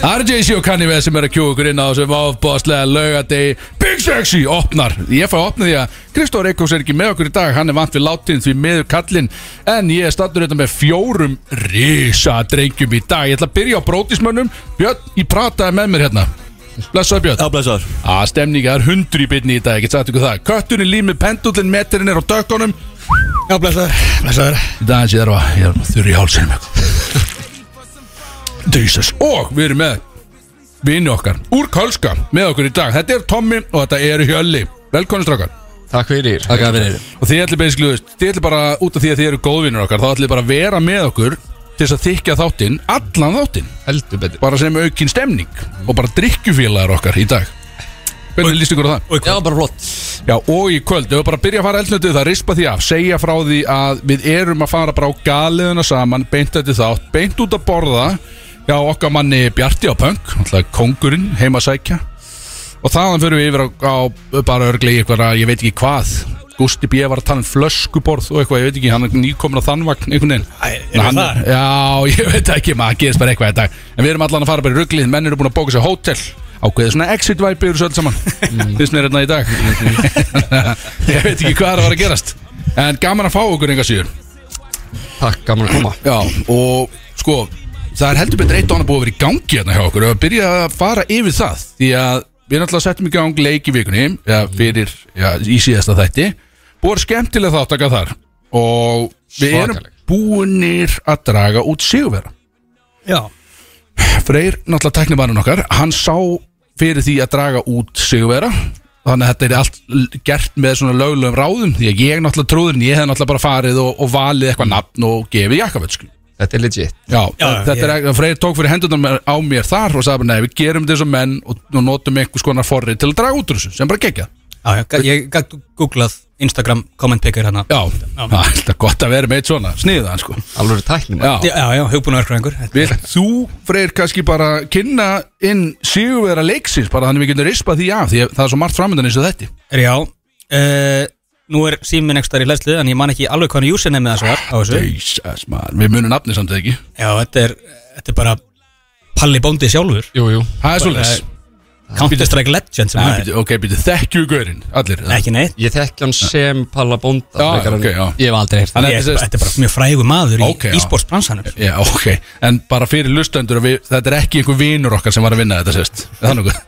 RJC og Kanye West sem er að kjóða ykkur inn á þessu váfbóðslega laugadegi Big Sexy opnar Ég fæ að opna því að Kristóf Reykjós er ekki með okkur í dag Hann er vant við látin því meður kallinn En ég er stattur þetta með fjórum risa drengjum í dag Ég ætla að byrja á brótismönnum Björn, ég prataði með mér hérna Blessaði Björn Já, blessaður Á, stemninga, það er hundur í byrni í dag, ég get sagt ykkur það Kötturinn líf með pendullin, meterinn er á dökkunum Já, blessaður Blessaður Þetta aðeins ég þarf að, ég þarf að þurri í hálsinum Jesus Og við erum með vini okkar, úr Kölska, með okkur í dag Þetta er Tommy og þetta er Hjölli Velkomin strákar Takk fyrir Takk að fyrir Og þið ætli basically, þú veist, þið ætli bara út af því að þið eru góðvinur okkar Þá ætli þið bara að vera með okkur til þess að þykja þáttinn, allan þáttinn Heldur betur Bara sem aukinn stemning Og bara drikkjufélagar okkar í dag Hvernig líst ykkur á það? Já, bara flott Já, og í kvöld, ef við bara byrja að fara eldnötu það, rispa því af, segja frá því að við erum að fara bara á galiðuna saman beint þetta þátt, beint út að borða já, okkar manni Bjarti á Pöng alltaf kongurinn heima að sækja og þaðan fyrir við yfir á, á bara örglegi eitthvað, að ég veit ekki hvað Gusti B. var að tala um flöskuborð og eitthvað, ég veit ekki, hann er nýkomin á þannvagn einhvern veginn Æ, erum við Hann- þar? Já, ég veit ekki, maður gerist bara eitthvað í dag En við erum allan að fara bara í rugglið, menn eru búin að bóka sér hótel Ákveðið svona exit vibe yfir þessu öll saman Mm. Þess mér hérna í dag Ég veit ekki hvað er að fara að gerast En gaman að fá okkur enga síður Takk, gaman að koma Já, og sko Það er heldur betur eitt og annað búið að vera í gangi hérna hjá okkur og að byrja að fara yfir það því að við náttúrulega settum í gang leik í vikunni ja, fyrir, ja, í síðasta þætti búið að skemmtilega þáttaka þar og við erum Svakaleg. búinir að draga út sigurvera Já Freyr, náttúrulega teknimannin okkar hann sá fyrir því að draga út sigurvera þannig að þetta er allt l- gert með svona lögulegum ráðum því að ég náttúrulega trúður en ég hef náttúrulega bara farið og, og valið eitthvað nafn og gefið Jakobetsku Þetta er legit Já, Já, já, þetta er ég- ekki, Freyr tók fyrir hendurnar á mér þar og sagði bara, nei, við gerum þetta sem menn og, og notum einhvers konar forrið til að draga út úr þessu sem bara gegja Já, já, ga- ég gætt googlað Instagram comment picker hérna Já, það er alltaf gott að vera með eitt svona, sniðan sko Alveg tæknum Já, Já, já, hugbúna örkvæðingur vil þú, Freyr, kannski bara kynna inn sigurvera leiksins bara þannig við getum rispað því af því að það er svo margt framöndan eins og þetta Já uh, Nú er síminn ekki þar í hlæslu en ég man ekki alveg hvað hann júsin er með þessu var á þessu Jesus, man, við munum nafni samt eða ekki Já, þetta er, þetta er bara Palli Bóndi sjálfur Eh, Jú, jú Það er svolítið Counter-Strike Legend sem það er Ok, býtu, þekkju gaurinn, allir Nei, Ekki neitt Ég þekki hann sem Palla Bónda Já, frekar en- ok, já. Ég hef aldrei heyrt Þannig Ég- að þetta Þetta er bara mjög frægur maður Ok, já. í ísportsbransanum Já, ok, en bara fyrir lustendur að við, þetta er ekki einhver vinur okkar sem var að vinna þetta sérst, er það nokkuð?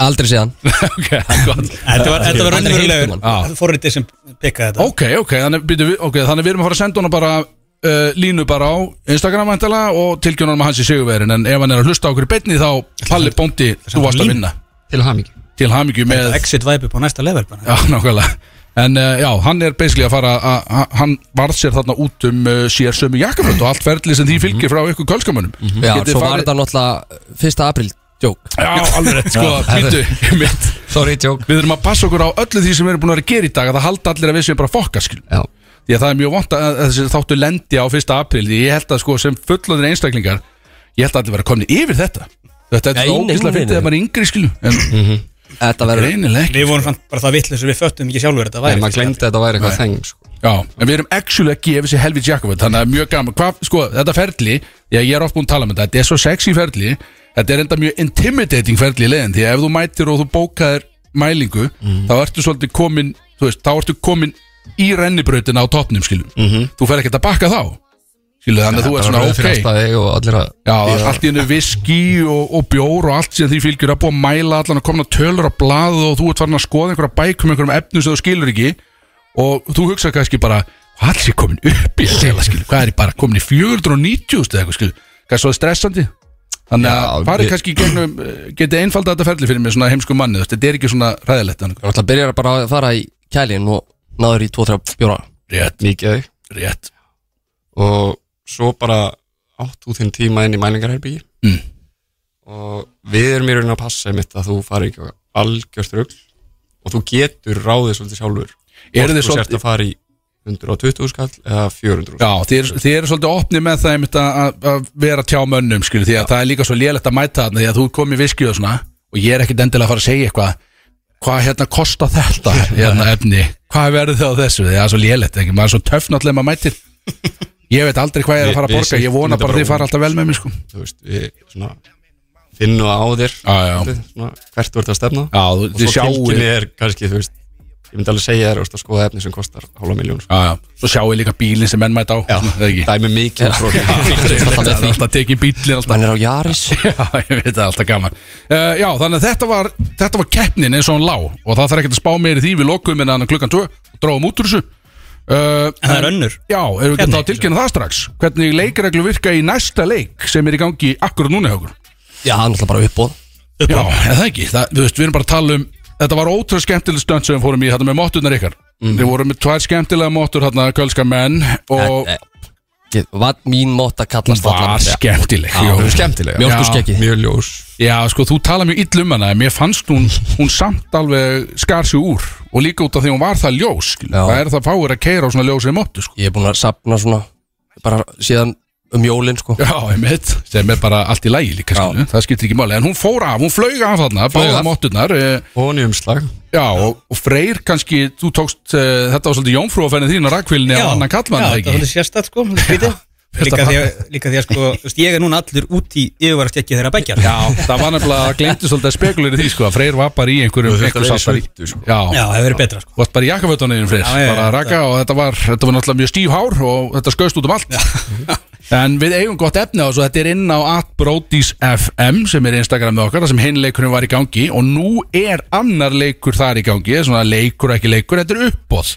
Aldrei séð hann ok, það er gott Þetta var, þetta var Aldrei heyrt um hann. raunverulegur forritið sem pikkaði þetta Ok, ok, þannig, býtu, við- ok, þannig við erum að fara að senda hana bara uh, línu bara á Instagram vantala og tilkynna hann hans í sigurverin en ef hann er að hlusta á okkur í betni þá Palli Bóndi, þú varst að línu? vinna Til hamingi til hamingju með Exit vibe upp á næsta level bara Já, nákvæmlega En uh, já, hann er basically að fara að- að hann varð sér þarna út um uh, sér sömu jakkaföld og allt ferli sem því fylgir frá ykkur kölskamönnum Mhm. Já, svo var þetta náttúrulega Fyrsta april Jók Já, alveg rétt, sko, Já. býtu mitt. Sorry, jók Við þurfum að passa okkur á öllu því sem við erum búin að vera að gera í dag að það halda allir að við séum bara fokka, skil Já Því að það er mjög vont að, að þessi þáttu lendi á 1. april Því ég held að sko sem fullonir einstaklingar Ég held að allir vera komni yfir þetta Þetta er Nei, ja, nei, ógislega nei, fyrir þegar nei. maður er yngri skilju En Þetta Mm. verður reynileg ekki Við vorum samt bara það vitlega sem við föttum ekki sjálfur þetta Nei, væri maður glemdi að þetta væri eitthvað þeng sko. Já, en við erum actually að gefa sér helvits Jakobut Þannig að mjög gaman, hvað, sko, þetta ferli Já, ég er oft búin að tala um þetta, þetta er svo sexy ferli Þetta er enda mjög intimidating ferli í leiðin Því að ef þú mætir og þú bókaðir mælingu Mm. Þá ertu svolítið komin, þú veist, þá ertu komin í rennibrautina á toppnum, skilju Þú fer ekkert að bakka þá Skilju, þannig að þú Þetta ert svona Mhm. verður ok fyrir ástæði og allir að Já, allt í hennu viski og, og bjór og allt sem því fylgjur að búa að mæla allan að komna tölur á blað og þú ert farin að skoða einhverja bækum, einhverjum efnum sem þú skilur ekki og þú hugsa kannski bara hvað alls ég komin upp í að segja skilur hvað er ég bara komin í 490 eða eitthvað skilur hvað svo er stressandi þannig Já, að farið ég- kannski í gegnum eh, getið einfalda þetta ferli fyrir mig svona heimsku manni þú veist, þetta er ekki svona ræðilegt þannig. Náttúrulega byrjar bara að fara í kælin og náður í 2-3 bjóra rétt, Mikið rétt og svo bara átt þú þinn tíma inn í mælingarherbyggi Mm. og við erum í raunin að passa einmitt að þú fari ekki á algjört rugl og þú getur ráðið svolítið sjálfur Eru þið þú svolítið- sért að fara í 120 skall eða 400 Já, þið eru er svolítið opnið með það einmitt að- að að vera tjá mönnum skilur, því að það er líka svo lélegt að mæta þarna því að þú er komið viskið og svona og ég er ekkit endilega að fara að segja eitthvað hvað hérna kosta þetta hérna efni, hvað verður það á þessu því að það er svo lélegt, ekki? maður er svo töff náttúrulega ef maður mætir ég veit aldrei hvað ég er að fara að Við- við borga ég sýnum vona þetta bara að bara þið fara alltaf vel með mér sko þú veist, við svona finna það á þér Já, já. Svona, hvert þú ert að stefna Já, þú- og þið svo sjáið- tilkynni er kannski, þú veist ég myndi alveg segja þér þú veist, að skoða efni sem kostar hálfa miljón sko. Já, já, svo sjáu líka bílinn sem menn mætt á Það ekki dæmi mikið um frá því. Það er alltaf tekið bílinn alltaf Menn er á Jaris Já, ég veit það er alltaf gaman uh, Já, þannig að þetta var, þetta var keppnin eins og hann lá Og það þarf ekkert að spá meir í því Við lokuðum innan klukkan 2 og dráum út úr þessu uh, En það er önnur. Já, erum við Keppni. getað að tilkynna það strax Hvernig leikreglu virka í næsta leik sem er í gangi akkur núna hjá okkur Já, hann er náttúrulega bara uppbóð Já, eða það ekki, það, þú veist, við erum bara að tala um Þetta var ótrúlega skemmtileg stönd sem við fórum í þetta með mótturnar ykkar Mhm. mm. Við vorum með tvær skemmtilega móttur hérna, kölska menn og Eh, eh, Var mín mót að kallast var allan- skemmtileg Já, hún er skemmtileg, já. Mjólkurskeggi. Já, mjög ljós já, sko, þú tala mjög ill um hana en Mér fannst hún, hún samt alveg skar sig úr og líka út af því hún var það ljós skilur. Já. Það er það fáir að keira á svona ljósið móttu sko. Ég er búin að sapna svona Bara síðan um jólin sko Já, einmitt, sem er bara allt í lægi líka skilur. Það skiptir ekki máli, en hún fór af, hún flög af þarna, Flaug báða af. mótturnar eh, og nýjumslag Já, og, og Freyr kannski, þú tókst uh, þetta var svolítið jómfrúafennið þín að rakvílinni á annan kallmann, já, eða það er ekki? svolítið sérstætt sko skrítið. líka, því að, líka því að sko þú veist, ég er núna allur út í yfirvara stekki þeirra sko. bækjar Já, það var nefnilega að glemti svolítið að spekulir í því, sko, að Freyr var bara í einhverjum einhverjum verið satt bara í- sveitur, sko. Já, já, það hefur verið betra sko þú varst bara í jakkafötunniðin, Freyr, Já, já, já, bara að raka og þetta var, þetta var náttúrulega mjög stíf hár og þetta skauðst út um allt En við eigum gott efni á þessu, þetta er inn á atbrotis FM sem er Instagramið okkar, þar sem hinn leikurinn var í gangi og nú er annar leikur þar í gangi, svona leikur ekki leikur, þetta er uppbóð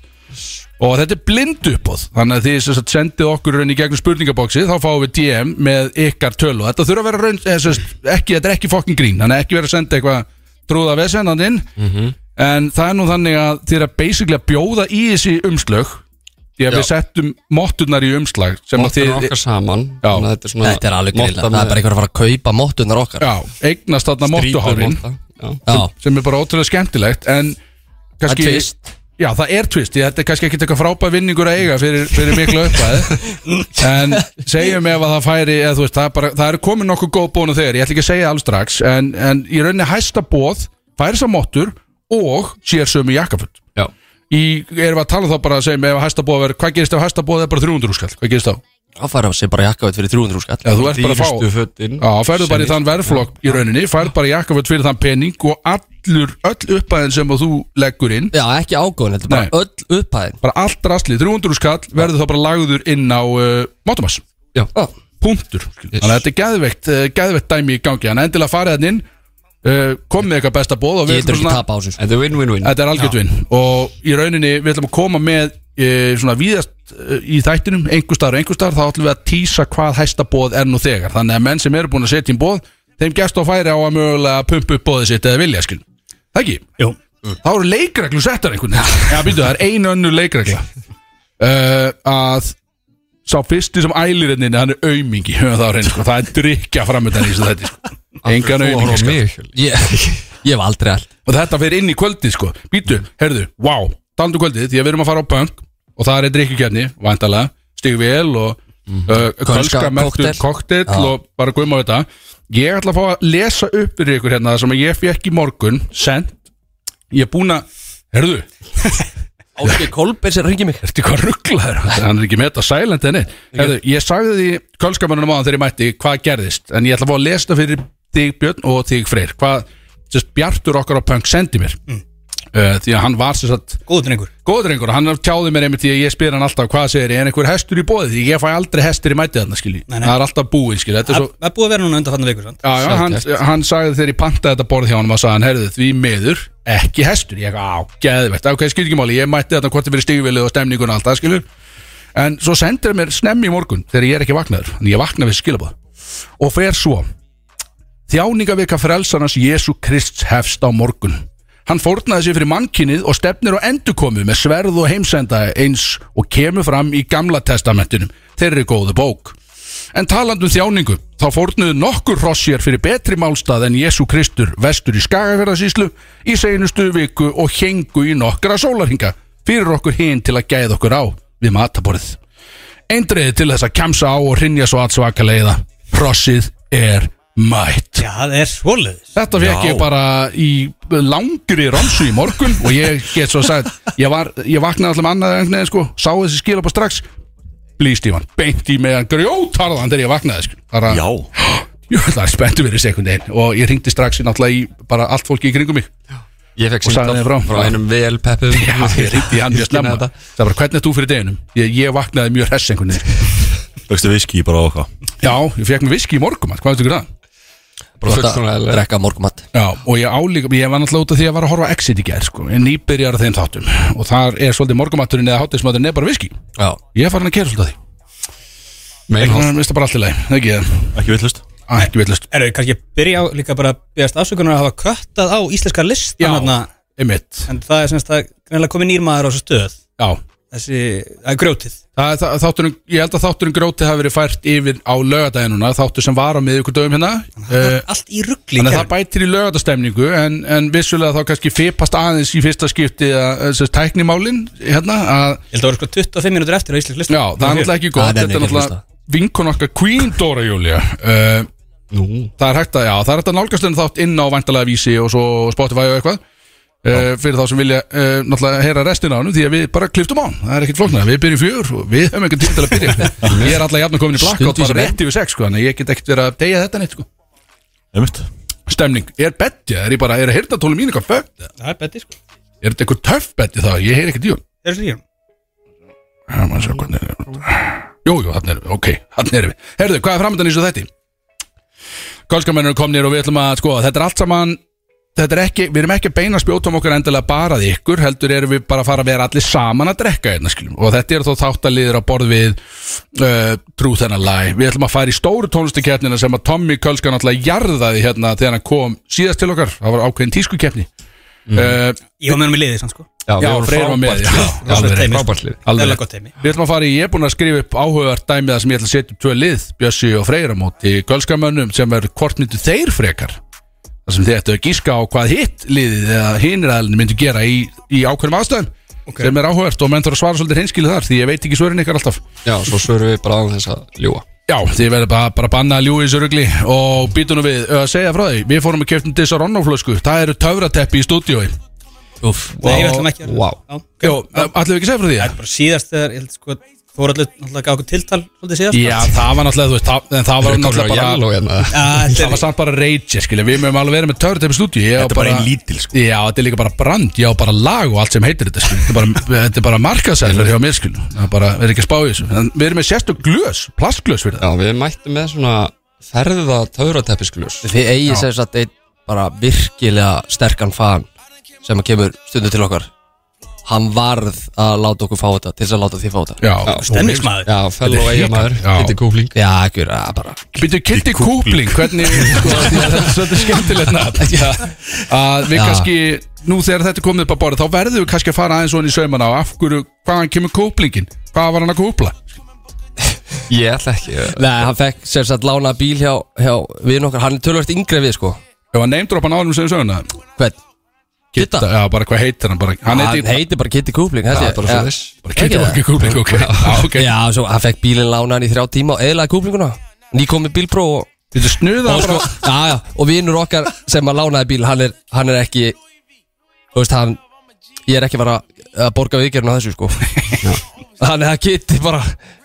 og þetta er blind uppbóð þannig að þið sem sagt, sendið okkur raun í gegnum spurningabóksi þá fáum við DM með ykkar tölu þetta þurfa að vera raun, eða, sem sagt, ekki, þetta er ekki fokkin grín, þannig að ekki vera að senda eitthvað trúða vesennandinn mm Mhm. -hmm. en það er nú þannig að þið er að basically að bjóða í þessi umslög því að við settum mottunar í umslag sem að móttur þið okkar saman Já. þannig að þetta er, svona Þetta er alveg grilla motta Það er bara með einhver að fara að kaupa móttunar okkar já, eignast þarna strípur mottuhárin motta. Já. Já, sem er bara ótrúlega skemmtilegt en kannski Það er twist. Já, það er twist, Ég- þetta er kannski ekki eitthvað frábæð vinningur að eiga fyrir, fyrir miklu uppæði en segjum ef að það færi eða þú veist, það er, bara, það er komin nokkuð góð bónu þegar, ég ætla ekki að segja alls strax en, en í rauninni hæsta bóð færi sá mottur og sér sömu jakkafull Já. í, erum við að tala þá bara að segjum ef að hæsta bóð verður, hvað gerist ef hæsta bóð er bara 300 skall, hvað gerist þá? þá færa sig bara jakkavætt fyrir 300 skall Já, þú ert bara að fá Dýrustu fötin Já, færðu bara í þann verðflokk í rauninni, færðu bara jakkaföld fyrir þann pening og allur, öll uppæðin sem að þú leggur inn, Já, ekki ágóðin, þetta er Nei. bara öll upphæðin bara allt rastlið, 300 skall, verður þá bara lagður inn á uh, Mátumass, Já, punktur. Þannig að þetta er geðveikt, uh, geðveikt dæmi í gangi, þannig að endilega farið þann inn, uh, komið eitthvað besta bóð og við getur ætlum ekki svona- tapa á þessu sko. Þetta er win-win-win Þetta er algjöldvinn og í rauninni við ætlum að koma með e, svona víðast e, í þættinum einhver staðar og einhver staðar þá ætlum við að týsa hvað hæsta bóð er nú þegar þannig að menn sem eru búin að setja í bóð þeim gæst á færi á að mögulega pumpa upp bóðið sitt eða vilja skil Það ekki? Mm. Jú. Þá eru leikreglu settar einhvern veginn Já, býtu, það er einu önnu leikregla uh, að sá fyrsti sem ælir henni hann er aumingi, höfum það á hreinu sko. það er drikja framöndan í þessu þetta sko. engan Þú aumingi horfir á sko. mig Hjörleif. Ég ég hef aldrei all og þetta fyrir inn í kvöldið sko býtu, herðu, wow, talandu kvöldið því að við erum að fara á punk og það er drikkjukefni væntalega, stigvél og uh, kölska mertu kokteil. koktel Já. og bara guðum á þetta ég ætla að fá að lesa upp fyrir ykkur hérna það sem ég fekk í morgun sent, ég er búin að herðu, Áskei Kolbeins er að ringi mig ertu eitthvað rugglaður hann er ekki með þetta silent henni herðu, ég sagði því kölskamannunum á þegar ég mætti hvað gerðist, en ég ætla að fá að lesa þetta fyrir þig Björn og þig Freyr hvað, sérst, Bjartur okkar á punk sendi mér Mm. uh, því að hann var sem sagt góður drengur góður einhver hann tjáði mér einmitt því að ég spyr hann alltaf hvað segir ég en einhver hestur í bóði því ég fæ aldrei hestur í mætið þarna skilji Nei, nei. það er alltaf búið skilji þetta er það svo það er búið að vera núna undan þannig vikur sant? Já, já, hann, hann sagði þegar ég pantaði þetta borð hjá hann og sagði hann, herðu, því miður, ekki hestur ég, á, geðvegt, ok, skilur ekki máli ég mætti þetta hvort þið fyrir stigvilið og stemningun og allt það, skilur en svo sendir hann mér snemmi í morgun þegar ég er ekki vaknaður, en ég vakna við skilabóð og fer svo þjáningavika frelsarnas Jésu Krist hefst á morgun hann fórnaði sér fyrir mannkinnið og stefnir á endurkomu með sverð og heimsenda eins og kemur fram í gamla testamentinum þeirri góðu bók En talandu um þjáningu, þá fórnuðu nokkur hrossjar fyrir betri málstað en Jésu Kristur vestur í Skagafjörðasíslu í seinustu viku og hengu í nokkra sólarhinga fyrir okkur hinn til að gæða okkur á við mataborðið. Eindriði til þess að kemsa á og hrinja svo aðsvakaleiða. Hrossið er mætt. já, það er svoleiðis Þetta fekk ég bara í langri ransu í morgun og ég get svo sagt, ég, var, ég vaknaði allir annað einhvern veginn sko, sá þessi skilabá strax Blístífan, beint í meðan grjótarðan þegar ég vaknaði sko. bara, Já, Jú, það er spenntu verið sekundin Og ég ringdi strax í náttúrulega í bara allt fólki í kringum mig Ég fekk Og sagði símtal þeim frá. frá einum vel peppum Já, ég ringdi í hann mjög snemma þetta. Það var bara, hvernig er þú fyrir deginum? Ég, ég vaknaði mjög hress einhvern veginn Fegstu viski bara á okkar Já, ég fekk mér viski í morgumann, hvað veistu ykkur það? Bara Þú ert fullkomlega að eðlilegt. drekka morgumatt Já, og ég álíka, ég var náttúrulega út af því að var að horfa á Exit í gerð, sko, en nýbyrjar á þeim þáttum og þar er svolítið morgumatturinn eða hátismaturinn er bara viski. Já Ég er farin að kera svolítið að því. Einhvern Meinholt. veginn mista bara allt í lagi, það er ekki það. Ekki villust Æ, ekki villust. Erum við kannski að byrja á líka bara að byggast afsökunar að hafa köttað á íslenska list Já. Einmitt. En það er semst að greinlega komið nýr maður á þessu stöð Já. Þessi, það er grjótið Það, það, þátturinn, ég held að þátturinn grótið hafi verið fært yfir á lögadaginn þáttur sem var á miðvíkur dögum hérna. Uh, Allt í ruggli Þannig að það bætir í lögatastemningu en, en vissulega þá kannski fipast aðeins í fyrsta skipti að þessi tæknimálin hérna að Ég held að það voru sko 25 mínútur eftir á íslenska list Já, það er náttúrulega ekki gott Það Þetta er er ekki náttúrulega vinkon okkar Queen Dóra Júlia uh, Nú. Það er hægt að, já, það er hægt að nálgast henni þátt inn á væntalega vísi og svo Spotify og eitthvað uh, fyrir þá sem vilja uh, náttúrulega heyra restin á hennu því að við bara kliftum á hann það er ekkert flóknar, við byrjum fjör og við höfum einhvern tíma til að byrja ég er alltaf jafn að komin í blakk og Stundvísi bara menn. rétt yfir sex sko, þannig að ég get ekkert verið að deyja þetta neitt sko. Einmitt stemning, er betti, er ég bara, er hirtatólu mín eitthvað fögn, eða? Það er betið sko er þetta eitthvað töff betti það, ég heyr ekkert í hún Það er slíðum Já, maður sjá hvernig er Jú, jú, hann er við, ok, hann er við Herðu, hvað er framöndan eins og þetta? Kolskamennur eru komnir og við ætlum að skoða Þetta er allt saman Þetta er ekki, við erum ekki að beina spjótum okkar endilega bara að ykkur, heldur erum við bara að fara að vera allir saman að drekka hérna, skiljum, og þetta er þó þáttaliðir á borð við uh, Trú þennan lag, við ætlum að fara í stóru tónlistakefnina sem að Tommy Kölskan alltaf jarðaði hérna þegar hann kom síðast til okkar, það var ákveðin tískukefni mm. Ég var með hann með liðið sann sko Já, við Já, vorum Freyr var með, frábært já, lið. já, alveg rétt. Frábært lið. Alveg. Alveg gott heimi Við ætlum að fara í, ég er búinn að skrifa upp áhugavert dæmið það sem ég ætla að setja upp tvö lið Bjössi og Freyra móti gölskamönnum sem verður hvort myndu þeir frekar þar sem þið ættu að gíska á hvað hitt liðið eða hinir aðlinni myndu gera í, í ákveðum aðstæðum sem er áhugavert og menn þarf að svara svolítið hreinskilið þar því ég veit ekki svörin ykkar alltaf Já, svo svörum við bara án þess að ljúa Já, þið verður bara, bara að banna að ljúi þessu rugli og býtunum við að segja frá því við fórum að keftum Disaronno-flösku það eru töfrateppi í stúdíói Uff Nei, við ætlum ekki að Wow. Já, ok. Jó, allir við ekki segja frá því? Það er bara síðast þegar, ég held sko Þóraldur náttúrulega gaf okkur tiltal Svolítið síðast Já, það var náttúrulega, þú veist, það, en það var náttúrulega bara Yellow hérna Það var samt bara rage, skilja, við mögum alveg verið með törut upp í stúdíu Þetta er bara ein lítil, sko Já, þetta er líka bara brand, já, bara lag og allt sem heitir þetta, skilja Þetta er bara, þetta er bara markaðsæðlar hjá mér, skilja Það er bara, við erum ekki að spá í þessu En við erum með sérstök glös, plastglös fyrir Já, við mættum með svona ferða töfrateppisgljós Þið eigið sem sagt einn bara virkilega sterkan fan sem að kemur stundu til okkar Hann varð að láta okkur fá þetta til þess að láta þið fá þetta það Já, Stemningsmaður Já, fellow eigamæður, Já. Kitty Kúfling Já, ekki verið að bara Býtu Kitty Kúpling, hvernig, sko, því að þetta er svolítið skemmtilegt nafn Já, Að við Já. kannski, nú þegar þetta er komið upp á borðið Þá verðum við kannski að fara aðeins svona í saumana á Af hverju, hvaðan kemur Kúplingin? Hvað var hann að kúpla? Ég ætla ekki Nei, hann fekk sem sagt lána bíl hjá, hjá við okkar Hann er tölvært yngri en við sko Ef hann neymdropan ánum sem söguna Hvern? Kitta? Já, bara hvað heitir hann bara Hann Hann heitir heitir bara Kitty Kúpling Það er bara svo þess Bara Kitty Walker Kúpling, ok Já, ok Já, svo hann fekk bílinn lánaðan í þrjá tíma og eðlaði kúplinguna Nýkom með bílpró og Þetta er snuða og, sko, já, já, og vinur okkar sem að lánaði bíl hann er, hann er ekki þú veist hann ég er ekki bara að borga viðgerðin á þessu sko þannig að Kitty bara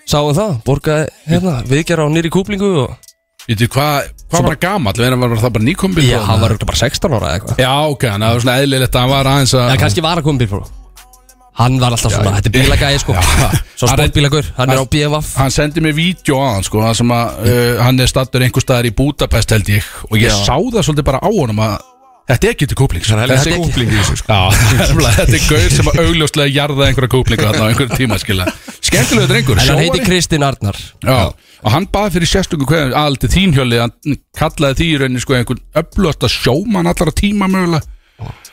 sáum það, borgaði hérna viðgerð á nýri kúplingu og Veitu, hvað hva var hann gamall? Við erum bara, það bara nýkombil já, hann var örugglega bara 16 ára eða eitthvað Já, ok, hann var svona eðlilegt að hann var aðeins að Já, kannski var að koma bíl frá hann var alltaf svona, þetta er bílagæði sko svo Hann er- sportbílagur, hann er á BMF Hann sendi mér vídeo á hann, sko Það sem að uh, hann er stattur einhver staðar í Budapest held ég Og ég Já. sá það svolítið bara á honum að Þetta er ekki til kúpling sko. Það er Þessi- heldur kúfling í þessu sko Já, nefnilega, þetta er gaur sem að augljóslega jarða einhverja kúplingu þarna á einhverjum tíma skilja Skemmtilega drengur, en hann sjóari heiti Kristinn Arnar Já, og hann baði fyrir sérstöku hverjum aldrei þín hjóli, hann kallaði því í rauninni sko einhvern öflösta sjóman allara tíma mögulega,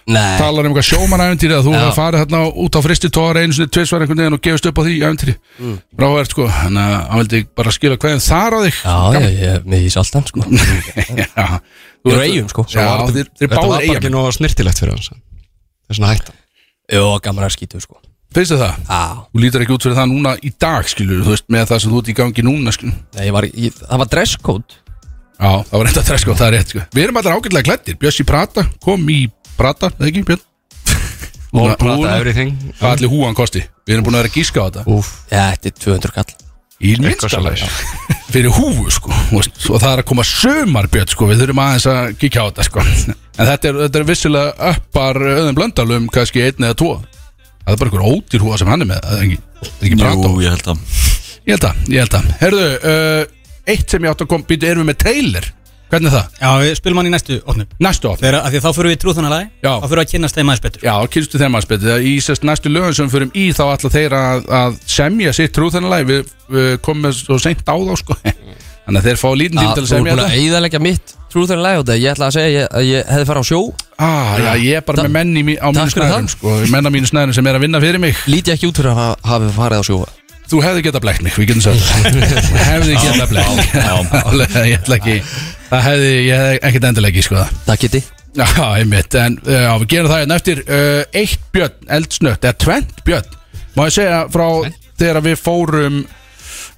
nei, talar um eitthvað sjómanæventýri að þú Já. hefði farið hérna út á fristitóra einu sinni tvisvar einhvern veginn og gefist upp á því æventýri mm. ráverð sko, hann að hann vildi bara skila hverjum þar á þig já, ég, ég, ég, ég sált hann sko já, Ég þú er á Eyjum, sko. Já, þeir, þeir Þetta var báðir bara ekki eigum, nóg snirtilegt fyrir hans Það er svona hættan jó, gaman að skýtu sko finnst þið það? já, Þú lítur ekki út fyrir það núna í dag skilur, þú veist, með það sem þú ert í gangi núna skilur Nei, ég var, ég, það var dresscode Já, það var reynda að treska og það er rétt sko. Við erum allir ágætlega klættir, Bjössi Prata kom í Prata, eða ekki Björn? Búin að- Prata everything Hvað allir húan kosti? Við erum búin að vera að gíska á þetta Úf Já, þetta er 200 kall Í minnstalæs Fyrir húfu sko þú veist, Og það er að koma sömarbjörn sko Við þurfum aðeins að kíkja á þetta sko En þetta er, þetta er vissilega öppar öðum blöndalum Kannski einn eða tvo Það er bara einhver ódýr húfa sem hann er með Það er ekki, það er ekki brata Jú, ég held að Ég held að, ég held að Herðu, uh, eitt sem ég átt að koma Býtu, erum við með trailer Hvernig er það? Já, við spilum hann í næstu opnu Næstu átt Þegar, af því að þá fyrir við trúðunalagi Já. Þá fyrir við að kynast þeim aðeins betur Já, kynstu þeim aðeins betur Í sérst næstu lögum sem við förum í þá ætla þeir að, að semja sitt trúþennalæg Við, við komum með svo seint á þá sko Þannig að þeir fá lítið Að til að Ah, Þú er semja búin þetta að e- eigðalegja mitt Trúður lag á þetta Ég ætla að segja ég- að ég hefði farið á sjó ah, Já, ég er bara Ta- með menn í, mí- á mínu Takk fyrir snæðurum það. sko Menn á mínu snæðurum sem er að vinna fyrir mig Líti ekki út fyrir að hafa- hafi farið á sjó Þú hefði getað blækt mig, við getum sagt það Hefði getað blækt mig já. Alveg, Ég ætla ekki Það hefði, ég hefði ekkert endilega ekki sko það Það geti Já, einmitt, en uh, já, við gerum það hérna eftir uh, Eitt björn, eldsnött, eða tvent björn Má ég segja frá þegar við fórum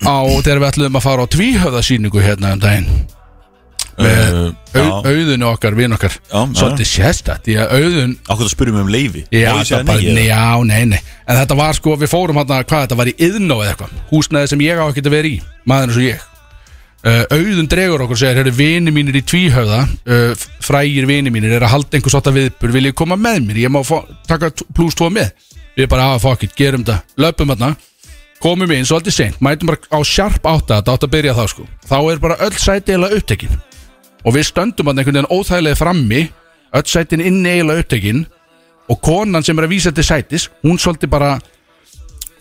á, þegar við ætluðum að fara á tvíhöfðasýningu hérna um daginn Með Eh, au, já. auðunni okkar, vin okkar Já, já. Svolítið sérstætt, því að auðun Akkur það spurðum um leifi Já, Má ég segja þetta bara, nei, eða? já, nei, nei En þetta var sko, við fórum hann hvað þetta var í yðnó eða eitthvað Húsnæði sem ég á ekkert að vera í, maður eins og ég uh, Auðun dregur okkur og segir, heyrðu, vini mínir í tvíhöfða uh, Frægir vini mínir er að halda einhvers átta viðbur Vil ég koma með mér, ég má fá, taka t- plús tvo með Við bara, að fuck it, gerum þetta Löpum hann, komum inn, svolítið seint Mætum bara á sjarp átta, þetta átt að byrja þá sko Þá er bara öll sæti eiginlega upptekin Og við stöndum hann einhvern veginn óþægilega frammi Öll sætin inni eiginlega upptekin og konan sem er að vísa til sætis hún svolítið bara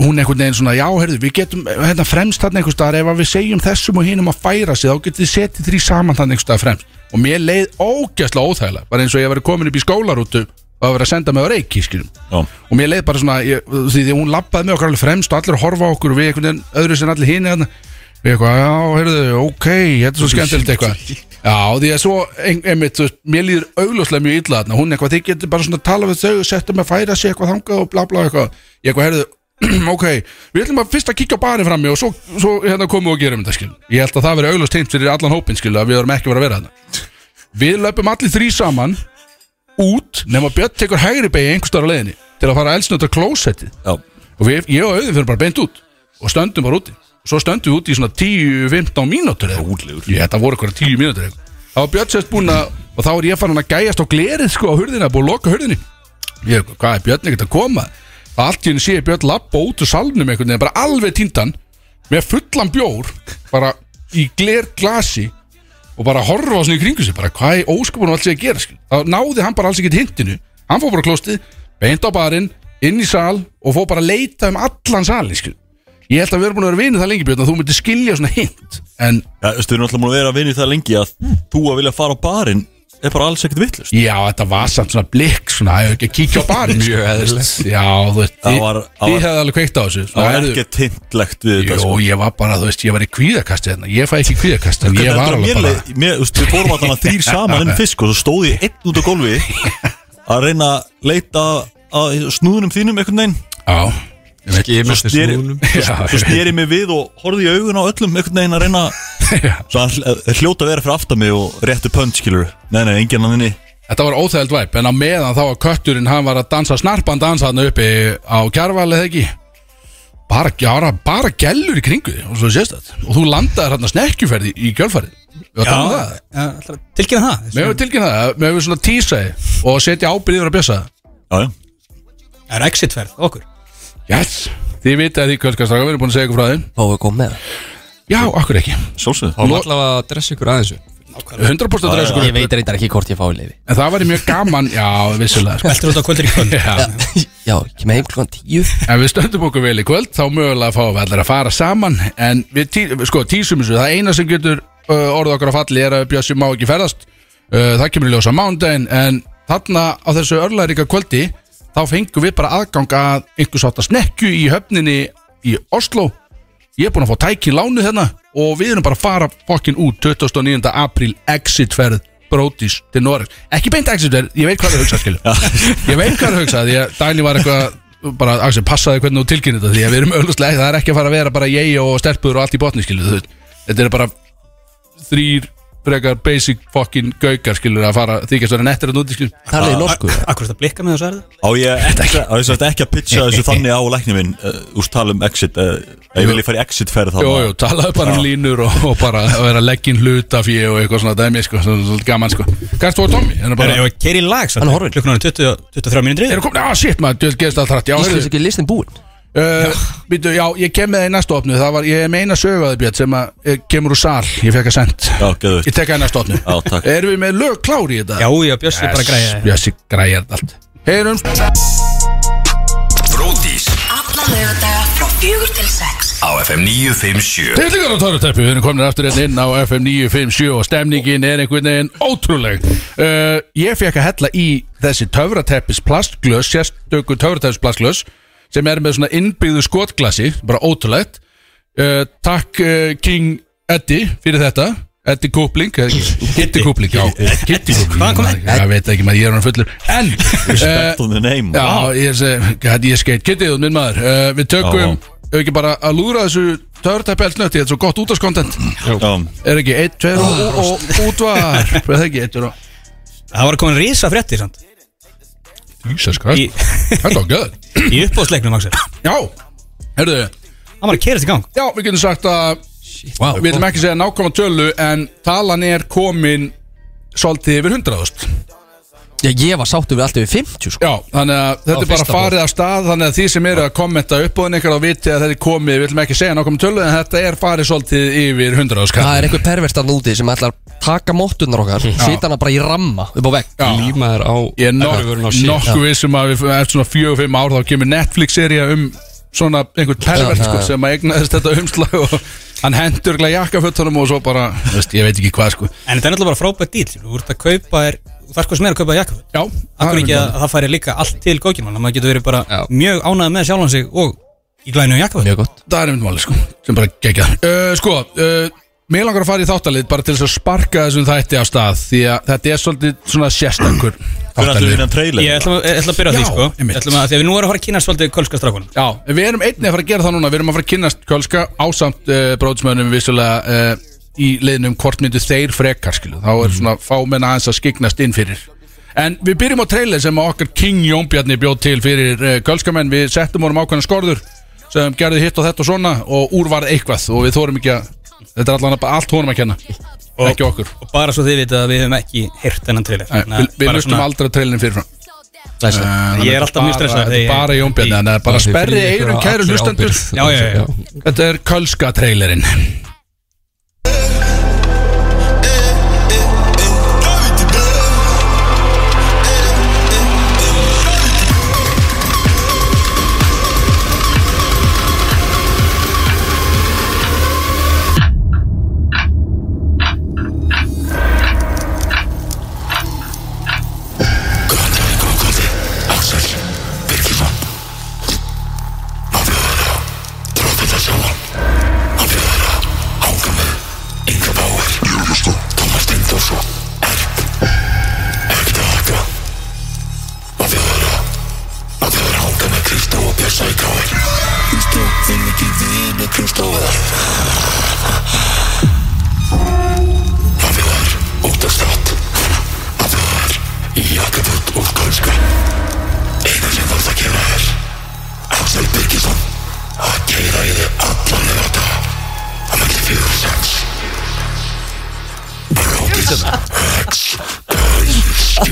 hún einhvern veginn svona, já, herðu, við getum hérna fremst þarna einhvers staðar, ef að við segjum þessum og hinum að færa sig, þá getum við setið þrý saman þarna einhvers staðar fremst, og mér leið ógæslega óþægilega, bara eins og ég verið komin upp í skólarútu og að vera að senda mig á reiki, skilum Já. og mér leið bara svona, ég, því því hún labbaði með okkur alveg fremst og allir að horfa á okkur og við einhvern veginn öðru sem allir hinni þarna við eitthvað, já, heyrðu, ok, þetta er svo skemmtilegt eitthvað já, því að svo, ein, einmitt, þú veist, mér líður augljóslega mjög illa þarna, hún eitthvað, þið getur bara svona að tala við þau og setja mig að færa sig eitthvað þangað og bla bla eitthvað, ég eitthvað, heyrðu ok, við ætlum að fyrst að kíkja á barið frammi og svo, svo hérna komum við og gerum þetta skil ég held að það veri augljóst heimt fyrir allan hópin skil að við erum ekki að vera að vera þarna við löpum allir þrý saman út nema Björn tekur hægri beigja einhverstaðar á leiðinni til að fara að elsnöta klósettið Já, og við, ég og auðin fyrir bara beint út og stöndum bara úti og svo stöndum við úti í svona 10-15 mínútur eða Rólegur. ég, þetta voru eitthvað 10 mínútur eða þá var Björn sérst búin að og þá er ég farin að gæjast á glerið sko á hurðina búin að loka hurðinni ég, hvað er Björn ekkert að koma allt í henni sé ég Björn labba út úr salnum einhvern veginn, bara alveg tindan með fullan bjór bara í gler glasi og bara horfa á svona í kringu sig bara hvað er ósköpunum alls ég að gera skil þá náði hann bara alls ekkert hintinu hann fór bara á klostið, beint á barinn inn í sal og fór bara að leita um allan salin skil ég held að við erum búin að vera vinið það lengi björn að þú myndir skilja svona hint en þú veist, við erum alltaf múin að vera að vinni það lengi að þú að vilja fara á barinn er bara alls ekkert vittlust Hmm. já þetta var samt svona blikk svona hefur ekki að kíkja á barinn mjög eðlilegt já þú veist Það þið- var- það þið var- hefði alveg kveikt á þessu Það Svona, er heyrðu, ekkert tintlegt við þetta Jó, sko. ég var bara, þú veist, ég var í kvíðakasti hérna Ég fæ ekki kvíðakast, en ég Hvernig var heldur að alveg mér bara leið- mér- þú veist, Við fórum alltaf þrýr saman um fisk og svo stóð ég einn út á gólfi að reyna að leita að snúðunum þínum einhvern veginn Já, ég veit Ég Svo með þessi sneri- snúðunum Já, Svo styrir mig við og horfði í augun á öllum einhvern veginn að reyna já. Svo hann hl- hljóta að vera fyrir aftan mig og réttu pönt skilur Nei, nei, enginn hann inni Þetta var óþægild væp En á meðan þá var kötturinn Hann var að dansa snarpan dansa hann uppi á kjarvalið ekki Bara, bara, bara gellur í kringu þig Og svo sést þetta Og þú landaðir hann að snekkjuferði í kjölfarið Við varum að tala um það Já, tilkynna það Mér hefur tilkynnað það Mér hefur svona tísaði Og setja ábyrð yfir að bjösa Já, já Það er exitferð, okkur Yes Þið vitið að því kvöldkastaka Við erum búin að segja ykkur frá þeim Má við komum með það Já, akkur ekki Sjálfsögðu Má allavega að dressa ykkur aðeins 100% að Ég veit reyndar ekki hvort ég fái leiði En það væri mjög gaman Já, vissulega sko. Veltur út á kvöldur í kvöld Já, Já, ég kem heim klukkan tíu Ef við stöndum okkur vel í kvöld þá mögulega fáum við allir að fara saman en við tí, sko, tísum þessu, það eina sem getur uh, orðið okkar að falli er að Bjössi má ekki ferðast uh, það kemur í ljósa mándaginn en þarna á þessu örlaðaríka kvöldi þá fengum við bara aðgang að einhvers átt að snekju í höfninni í Oslo ég er búin að fá tæki í lánu þarna og við erum bara að fara fokkin út 29. apríl exitferð brótis til Noreg ekki beint exitferð, ég veit hvað það hugsa skilur ég veit hvað það hugsa því að Dæli var eitthvað bara Axel, passaði hvernig þú tilkynir þetta því að við erum ölluslega, það er ekki að fara að vera bara ég og stelpur og allt í botni skilur þú veist. þetta er bara þrýr frekar basic fucking gaukar skilur að fara þykast vera nettir að núti skilur Talið í norsku Akkur þetta blikka með þessu erðu? Á ég ekki, á ég sagt ekki að pitcha þessu þannig á lækni minn uh, Úst tala um exit uh, Ég vil ég fara í exit ferð Jú, jú, þá talaðu bara um línur og, og bara að vera legginn hlutafjö og eitthvað svona dæmi sko, svona svolítið gaman sko Kannst þú að Tommy? Þannig bara, Ég var að keira í lag samt. Hann er horfinn. Klukkan orðin 20 og 23 mínútur erum yfir. komin, á Ah, shit maður, djöld gerist allt hrætt Já, Íslands heyrðu, ekki listin búin uh, býtu, já, ég kem með það í næsta opnu Það var, ég meina sögvaði björn sem að eh, kemur úr sal, ég fekk að send Já, geðu Ég tek að í næsta opnu Já, takk. Erum við með lög klári í þetta? Já, já, Bjössi bara græja það. Bjössi græjar þetta allt Heyrum Bródís Alla lögadaga frá fjögur til sex á FM 957 Tillingar á Torutæppu, við erum komin aftur hérna inn á FM 957 og stemningin er einhvern veginn ótrúleg uh, Ég fekk að hella í þessi töfratæppis plastglös, sérstöku töfratæppis plastglös sem er með svona innbyggðu skotglasi, bara ótrúlegt uh, Takk uh, King Eddie fyrir þetta Eddie Kúpling, eh, Kitty Kúpling, já Kitty Kúpling, Hvaðan kom ég veit ekki maður, ég er hann fullur En, uh, Respect on the name Já, ég sé, hætti ég skeit Kittið og minn maður, uh, við tökum Já. Ef ekki bara að lúra þessu törtæpeltnötti Þetta er svo gott útaskontent Já. Er ekki, eitt, tveir og, og, og útvar Er það ekki, eitt, tveir og Það var komin rísa frétti samt Jesus Christ, Í, þetta var göð í uppbóðsleiknum, Axel Já, herðu, Hann var að keira þetta í gang já, við getum sagt að Wow. Við viljum ekki segja nákvæma tölu En talan er komin Svolítið yfir 100.000 Já, ég var sáttu við allt yfir 50 sko Já, þannig að þetta Á er bara fyrsta farið af stað Þannig að því sem eru að kommenta uppbúðin ykkur á viti að þetta er komið, við viljum ekki segja nákvæm tölu en þetta er farið svolítið yfir 100 skall Það er einhver pervert að núti sem ætlar að taka móttunar okkar Sita hana bara í ramma upp á vegg Já. Límaður á Ég er vörun á nokk, shit. nokkuð vissum að við eftir svona fjög og fimm ár þá kemur Netflix-sería um svona einhvern pervert Já, sko, já. sem að egnaðist þetta umslag og hann hendur glæð jakkafötunum og svo bara, þú veist, ég veit ekki hvað sko En þetta er náttúrulega bara frábæð díl skilur. Þú ert að kaupa þér Það er sko sem er að kaupa jakkaföt Já, Akkur ekki að að að það færi líka allt til gókinum Þannig að maður getur verið bara Já. mjög ánægð með sjálfan sig Og í glænum jakkaföt Mjög gott Það er einmitt máli sko, sem bara gegja uh, Sko, uh, mér langar að fara í þáttalið bara til þess að sparka þessum þætti af stað því að þetta er svolítið svona sérstakur Hvernig ætlum við þáttalið vinna trailer? Ég ætla, ég ætla að byrja á því Já, sko einmitt. Ég ætla að, Því að við nú erum að fara að kynna svolítið kölska strákunum Já, en við erum einnig að fara að gera það núna Við erum að fara að kynnast Kölska ásamt uh, bróðsmöðunum vissulega uh, í leiðinum hvort myndu þeir frekar skilu Þá Mhm. er svona fámenn aðeins að skiknast inn fyrir En við byrjum á trailer sem okkar King Jónbjarni bjóð til fyrir uh, Kölskamenn Við settum honum ákveðna skorður sem gerði hitt og þetta og svona og úr varð eitthvað og við þórum ekki að þetta er allan allt honum að kenna ekki okkur Og bara svo þið vita að við höfum ekki heyrt þennan trailer Nei, Þannig að Við, við bara lustum svona- aldrei að trailerinn fyrirfram Læslega Ég er alltaf mjög stressaður Þetta þegar er ég- bara Jónbjarni Þannig að bara sperri eirun kæru hlustendur Já, já, já, já. Þetta er Kölska trailerinn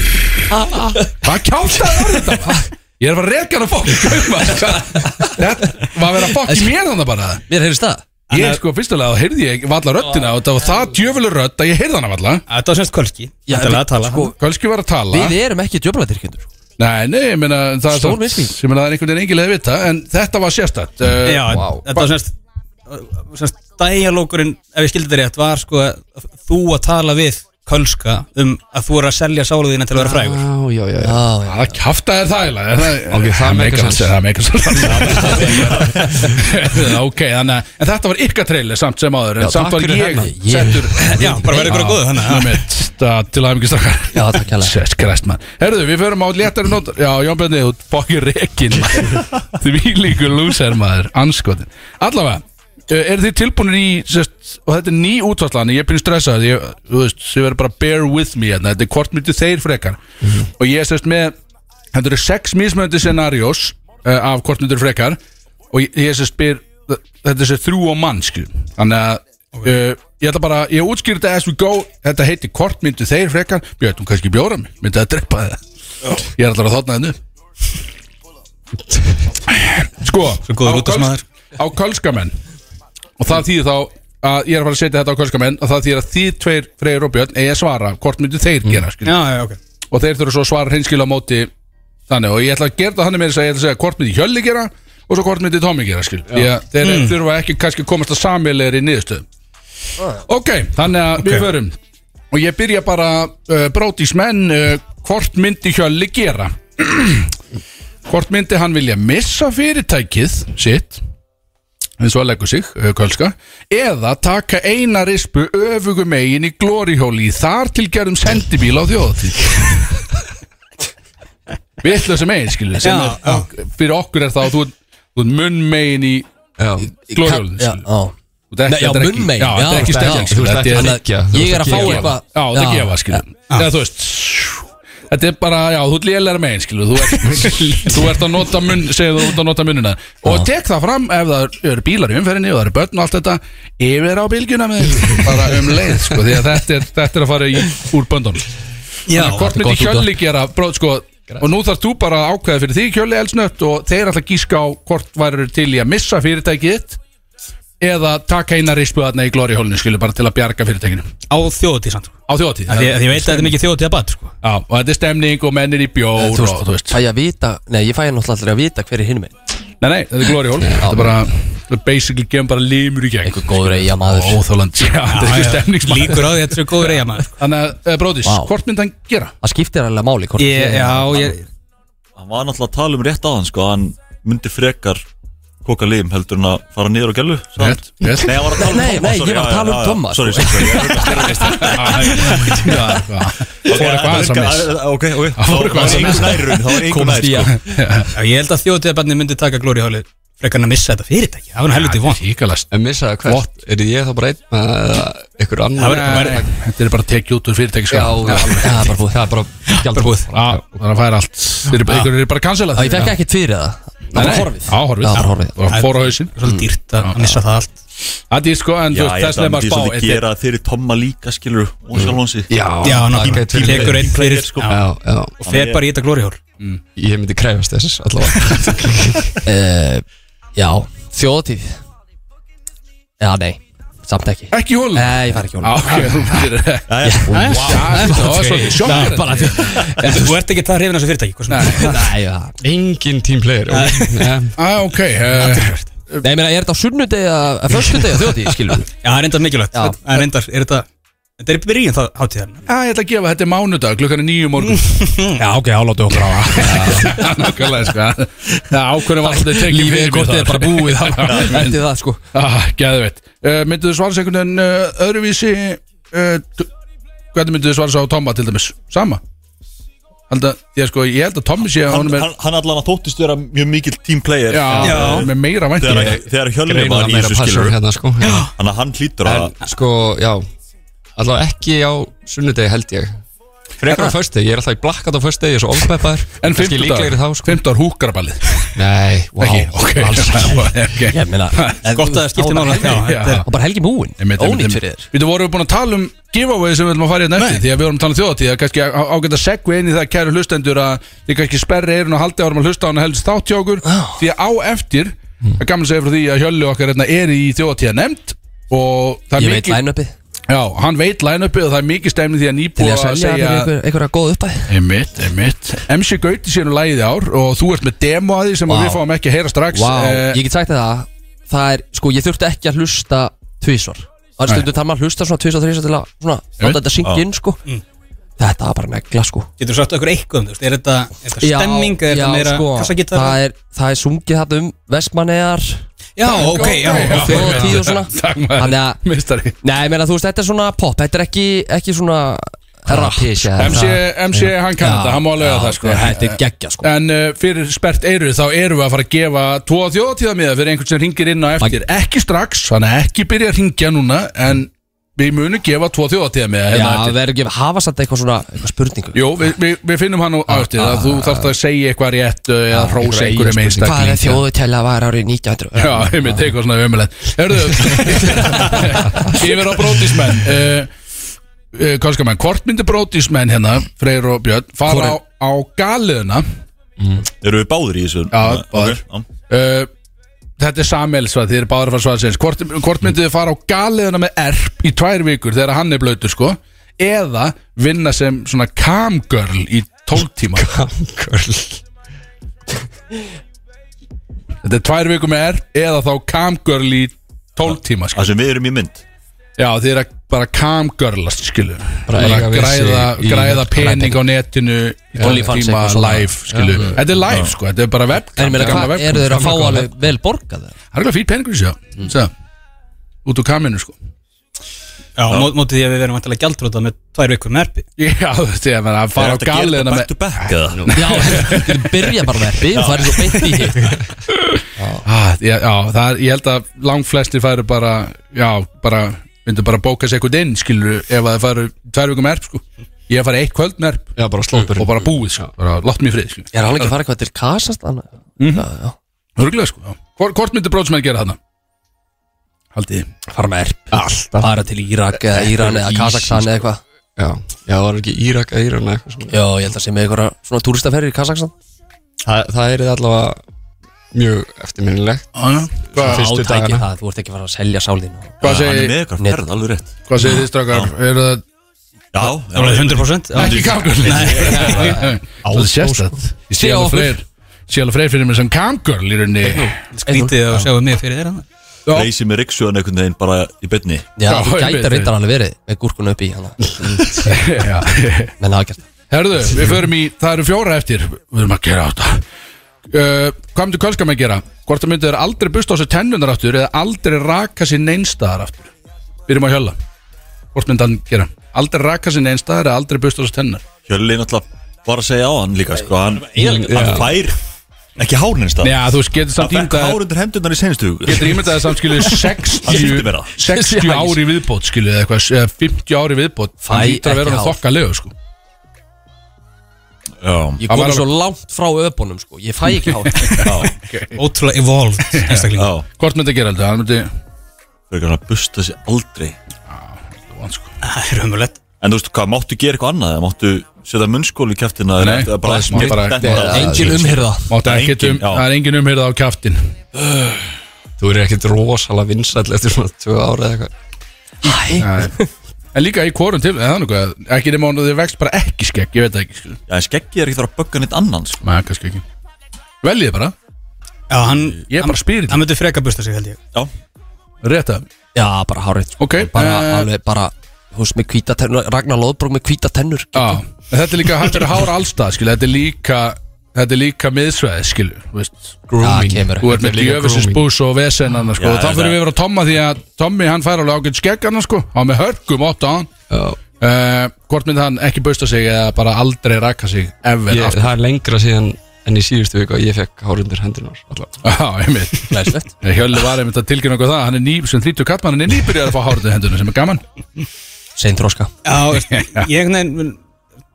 Hvað kjáltaði var þetta? Hvað? Ég er að fara að reka hann að fokki Þetta var að vera að fokki mér þannig bara Mér heyrðist það Ég sko fyrstulega þá heyrði ég valla röddina og það var það djöfuleg rödd að ég heyrði hana valla Þetta var semst kölski Já, Þetta er við- að tala sko- Kölski var að tala Við erum ekki sko. djöflaðirkjöndur Nei, nei, ég meina það er Stór samt- misskilningur. Ég meina það er einhvern veginn engin leið að vita En þetta var sérstætt uh, Já, en Vá. þetta var semst eh, semst dæjalókurinn, ef ég skildi þetta rétt var sko að þú að tala við kölska um að þú er að selja sálu þína til að vera frægur Já, já, já, já. Já, já Það kjaftaði það eiginlega, er það Ok, það meikar meikar sens. Það meikar sens Ok, þannig að En þetta var ykkar trailer samt sem áður En Já, samt takk var fyrir ég þarna. Ég- settur Já, bara verður ykkur að góðu þannig að- Númið, það til aðeins ekki strakkar Já, takk hérlega. Sess krest mann Herðu, við förum á léttari nót Já, Jón Björni, þú fokkir rekin Því líkur lúser maður, anskotin Allavega Er þið tilbúinir í sest, og þetta er ný útvallan, ég er pínu stressað ég, þú veist, ég verður bara bear with me hérna. þetta er hvort myndu þeir frekar og ég er sérst með, þetta eru sex mismöndi scenarios uh, af hvort myndu þeir frekar og ég, ég sérst spyr þetta er sérst þrjú á mann skil þannig að Uh, ég ætla bara, ég útskýr þetta as we go þetta heitir hvort myndu þeir frekar björnum kannski bjóra mig, myndi það drepa það ég er alltaf að hérna þotna þennu sko, góður á útvarpsmaður. Köls- á kölskamenn og það þýðir þá að ég er að fara að setja þetta á kölskamenn og það þýðir að þið tveir, Freyr og Björn eigi að svara hvort myndu þeir gera mm. Já, já, ok og þeir þurfa svo að svara hreinskil á móti þannig og ég ætla að gera það þannig með þess að ég ætla að segja hvort myndi Hjölli gera og svo hvort myndi Tommi gera skil ég, þeir þurfa ekki kannski að komast að samveilegri niðurstöð ok, þannig að við förum og ég byrja bara uh, brótis menn uh, hvort myndi Hjölli gera hvort myndi hann vilja missa fyrirtækið sitt eins og að leggur sig, uh, Kölska eða taka eina rispu öfugum eigin í glórihjóli í þar tilgerðum sendibíl á þjóðatíð við ætlum þessum eigin skilur sem Já, er, fyrir okkur er það þú, þú ert munn megin í glórihjólin Já, skilur. já Þú ert ekki- Nei, já, þetta er ekki- Já, munnmein, þetta já, er ekki já, stefning þú veist, Þetta er þetta er ekki ekki- þú ert ég er að ekki fá gefa. eitthvað- Já, þetta er já, gefa, skilur Eða þú veist Þetta er bara, já, þú ert lélæra megin, skilur Þú ert, þú ert að nota munn, segir þú ert að nota munnina Og tek það fram ef það eru bílar í umferðinni og það eru börn og allt þetta Yfir á bylgjuna með þig, bara um leið, sko Því að þetta er, þetta er að fara í, úr böndunum Já, Hvort myndi Hjölli gera, bróð, sko Og nú þarf þú bara að ákveða fyrir því Hjölli elsnött og þeir ætla að gíska á hvort væru til í að missa fyrirtækið þitt eða taka eina rispu þarna í glóri hólinu skilur bara til að bjarga fyrirtækinu á á þjóðatíð samt sko. Af þjóðatíð Því að ég veit að þetta er mikið þjóðatíð að bat sko. Já, og þetta er stemning og mennir í bjór Þú veist, og, þú veist. fæ ég að vita Nei, ég fæ ég náttúrulega aldrei að vita hver er hinn minn Nei, nei, þetta er glóri hól Þetta er bara, þetta er basically gefum bara limur í gegn Einhver góður eiga maður Óþóland, já, þetta er ekki stemningsmæður Líkur á því að þetta er góður eiga maður sko. Þannig að, eh, Bróðís, Vá. hvort myndi hann gera? Það skiptir alveg máli hvort ég, Já, ég, Hann var náttúrulega að tala um rétt á hann sko, hann myndi frekar koka lim heldur en að fara niður á gælu sagði hann. Rétt, rétt. Nei, hann var að tala um Nei, Tomma, nei, sorry, ég var að já, tala um já, já, Tomma, Sorry, sko. sorry, sorry, ég er að Já, eitthvað. Það fór eitthvað aðeins að miss að Ok, ok, þá fór var eitthvað aðeins að missa. einhver nær í raun, þá var einhver Komast nær í sko. að já, ég held að þjóðatíð að batni myndi taka glóri hálið frekar en að missa þetta fyrirtæki Það var nú helviti von Híkalast En missa það hvert, er ég þá bara einn eða ykkur annar Þetta er bara tekið út úr sko. fyrirtækis Já, já, alveg, það er bara búið Það er bara gjaldur búið þannig að færa allt Þeir eru ykkur eru bara kansalað Já, ég fekk ekkert fyrir það Það var horfið Já, horfið Já, bara horfið. Bara fór á hausinn Svolítið dýrt að að missa það allt Það er sko, en Já, þú ég veist, held þess að nefnum myndi að spá svolítið þetta er- gera það fyrir Tomma líka skilur og sjálf hans í Já, Já, ná, það gæti verið. tekur einn fyrir sko. já, Já, já, og fer bara í þetta glóri hál ég myndi krefast þess allavega Eh, Já, þjóðatíð Já, nei, samt ekki Ekki hólinn Nei, ég fari ekki Já, honum ok, þú gerir það. Jæja, Já, það var svolítið sjokkar bara því Þú ert ekki það hrifin af þessu fyrirtæki hvað sem er. Nei, já Engin tímplegir ah, Ok, eh, Nei, ég meina, er þetta á sunnudegi að, að föstudegi að þjóðatíð, skilur við? Já, það er enda mikilvægt Já. Það er enda, er þetta Þetta er byrjun það hátíðan að ég ætla að gefa þetta er mánudag Klukkan er nýju morgun Já, ok, áláttu okkur á það Nákvæmlega, sko Það ákvörðum var svolítið tekið Lífið er gott eða bara búið búið Eftir það, sko Ah, Gæðveit Myndu þið Eh, svara sér einhvern veginn eh, öðruvísi eh, t- Hvernig myndu þið svara sér á Tomma til dæmis? Sama Held að, ég, sko, ég held að Tommi sé að hann, honum er hann, hann allan að þóttist vera mjög mikill teamplayer Já, Já. með meira þegar, væntingar þegar Hjölni Greina var það í meira þessu passur skilur hérna sko já. Þannig að hann hlýtur að En sko, já Allavega ekki á sunnudegi held ég Frekar á föstudegi, ég er alltaf í blakkat á föstudegi Ég er svo ofbeppaður En Kannski líklegri þá fimmtudagur, sko fimmtudagur húkaraballið Nei, wow Ekki, ok, alls ekki. ok Ég meina Gott að það skiptir máli. Já, þetta er- Og bara helgi múin Ónýtt fyrir þér Við þú vorum við búin að tala um giveaway sem við viljum að fara hérna eftir Því að við vorum að tala um þjóðatíð Það er kannski á- ágætt að segja inn í það kæru hlustendur að þið kannski sperri eirun og haldið árum að hlusta á hana helst þátt hjá okkur Því að á eftir Hmm. Það er gaman að segja frá því að Hjölli okkar hérna er í þjóðatíða nefnd Og það Ég er veit mikið line-upið Já, hann veit line-upið og það er mikið stemni því að Til nýbúið ég að að selja segja einhver- einhverja góð uppæð Einmitt, einmitt MC Gauti sér nú lagið í ár og þú ert með demo að því sem Vá. við fáum ekki að heyra strax Vá, Eh, ég get sagt þér það Það er, sko, ég þurfti ekki að hlusta tvísvar Það er stundum þar maður að hlusta svona tvísvar, þrísvar til að Svona, láta þetta syngja inn, sko Mm. Þetta var bara negla, sko Getur sagt okkur eitthvað um þú veist Er þetta, er þetta Já, stemming eða Er já, þetta meira sko, kassagitar það er, það er sungið þetta um Vestmannegar Já, ok, já Já, og þjóð og tíð og svona Takk Þannig maður, að- mistari Nei, ég meina, þú veist, þetta er svona pop Þetta er ekki, ekki svona Ah, Rap MC, MC hann kann þetta, hann má alveg að það sko Þetta er geggja sko En uh, fyrir spert eyru þá erum við að fara að gefa tvo þjóðatíðamiða fyrir einhvern sem ringir inn á eftir Ekki strax, þannig að ekki byrja að ringja núna En við munum gefa tvo þjóðatíðamiða Já, hérna eftir. við erum ekki að hafa samt eitthvað svona eitthvað spurningu Jú, við, við, við finnum hann Ah, á eftir að þú þarft að segja eitthvað rétt uh, eða hrósa einhverjum Hvað er einstakling þjóðutæla var árið 1900? Já, ég myndi eitthvað svona umjöðlega Hörðu, yfir á brótismenn uh, uh, Hvað skal maður, hvort myndi brótismenn hérna Freyr og Björn, fara á, á galiðuna Eru við báðir í þessu? Já, báðir. Ok, já. uh, Þetta er samelsvað, þið eru báður að fara svaðsins Hvort, hvort myndið þið fara á galiðuna með erp í tvær vikur þegar hann er blöytur sko eða vinna sem svona camgirl í tóltíma Kamgörl Þetta er tvær vikur með erp eða þá camgirl í tóltíma sko. Það sem við erum í mynd Já, þið eru að bara camgirlast skilur bara, eiga við sig græða, í- græða pening á netinu í OnlyFans tóltíma eitthvað svona. live skilur Þetta er live sko, þetta er bara web En ég meina, gamla hvað webcam, eru þeir að fá gamla alveg Mm. vel borgað það? Það er eitthvað fýr peningur í sig já. Út úr kaminu sko Já, mó- mótið því að við verum vantilega gjaldróta með tvær vikur með erpi Já, þetta er að fara á galiðina með með Back to back eða? Já, þið byrja bara með erpi og farið svo beint í hitt ah, já, já, það er, ég held að langflestir færu bara Já, bara, myndu bara bóka sér eitthvað inn Skilur, ef að það færu tvær vikum erp sko. Ég færi eitt kvöld með erp Já, bara slópur Og bara búið, sko. bara látt mér frið Ég er alveg ekki að fara eitthvað til Kasastan Hörgulega, sko já. Hvor- Hvort myndu brótsmenn gera þarna? Haldið þið? Fara með erp Alltaf Fara til Írak eða Íran eða Kazakstan eða eitthvað Já, já, það var ekki Írak að Íran eða eitthvað svona Já, ég held að sé með einhverja svona túristaferri í Kazakstan Það, það er allavega mjög eftirminnilegt Já, já. Svona Já, Fyrstu tæki dagana það, þú ert ekki að fara að selja sálinu Hvað Hann er segir með ykkur ferð, alveg rétt hvað segir þið strákar? Er það Já, Það var 100% já. ekki kamgörl? Nei Það sést það sko. Ég sé alveg freyr Ég sé alveg freyr fyrir mér sem kamgörl í rauninni Skrítið að sjáum mig fyrir þeirra Já. Reysi með Riksjóðan einhvern veginn bara í byrni Já, Já, ég þú veit gæti það. reyndar alveg verið með gúrkun upp í hana Já Menn hafa gert það. Herðu, við förum í, það eru fjóra eftir Við erum að gera átta uh, Hvað myndir Kölska með að gera? Hvort það myndir þeir aldrei busta á sér tennunar aftur Eða aldrei raka sér neinstæðar aftur Byrjum að hjölla Hvort myndi hann gera? Aldrei raka sér neinstæðar eða aldrei busta á sér tennunar Hjölli náttúrulega var að segja á hann líka sko. hann, hann fær ekki hárn einstað Já, þú veist, getur samt Hann fekk ímyndað hár undir hendunar í senstu Getur ímyndað þess að skilju Hann sýndi 60, mér það. 60 ári viðbót skilju eða eitthvað, eða 50 ári viðbót Það Fæ hýttur að ekki vera hann hár. þokkalegu sko Já, Það Ég var kom alveg- svo langt frá öpunum sko Ég fæ ekki hár Ótrúlega evolved einstakling já Hvort myndi að gera aldrei? Hann myndi Fyrir ekki að busta sér aldrei Vá, sko. Það er umulett En þú veist hvað, máttu gera eitthvað annað? eða Máttu setja munnskóli í kæftina Nei, eða bara bara smá- bara- Engin umhyrða Mátti Það er ekkert um- engin- já. Það er engin umhyrða á kjaftin Þú er ekkert rosalega vinsæll eftir svona tvö ára eða eitthvað Æ, Nei. En líka í hvorum til, eða þannig að ekki nema hún að þið vext bara ekki skegg, ég veit það ekki skilur. Já, en skeggið er ekki þarf að bögga neitt annan sko. Nei, kannski ekki Veljið bara, Já, hann ég er bara spyrir Hann myndi freka busta sig held ég Já, Rétt að, Já, bara hárið sko. Ok, Bara eh, alveg bara Þú veist, með hvíta tennur Ragnar Lóðbrók með hvíta tennur á En Þetta er líka hægt er að hára allstað, skilur Þetta er líka, þetta er líka miðsveð, skilur Þú veist, Já, kemur þú ert með djöfisins bús og vesenana, sko Já, Og þá það- fyrir við að vera Tomma því að Tommi, hann fær alveg ágætt skeggana, sko Á með hörgum, ótt á hann uh, Hvort myndi hann ekki busta sig eða bara aldrei raka sig Ever, Ég- aftur Það er lengra síðan en í síðustu viku að ég fekk hár undir hendunar allavega Já, einmitt Eh, Glæslegt Hjölli var einmitt að tilkynna okkur það hann er ný, sem 30 kattmann, hann er nýbyrjar að fá hárið í hendunum sem er gaman Sein þróska Já, veist, ég neginn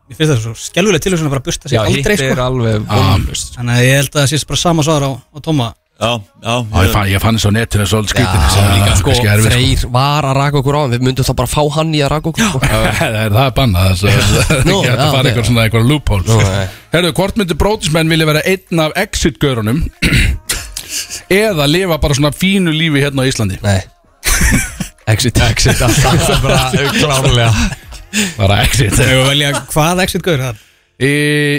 Ég finnst það svo skelvulega til þess að bara busta sig aldrei hitt er sko. alveg Ah. vonlust Þannig að ég held að það sést bara sama svar á, á Tóma já, já Já, ég fann, ég fann þess á netinu svolítið skrítið sem er líka sko, kannski erfið sko. Freyr var að raka okkur á hann Við myndum þá bara fá hann í að raka okkur sko. Það er það er bannað þess að það er Nú, ekki hægt já, að fara ok. eitthvað svona eitthvað loophole nei. Herðu, hvort myndi brótismenn vilja vera einn af exit-görunum eða lifa bara svona fínu lífi hérna á Íslandi Nei Exit Exit alltaf bara klárlega bara exit Þegar við velja hvað exit gaur það e,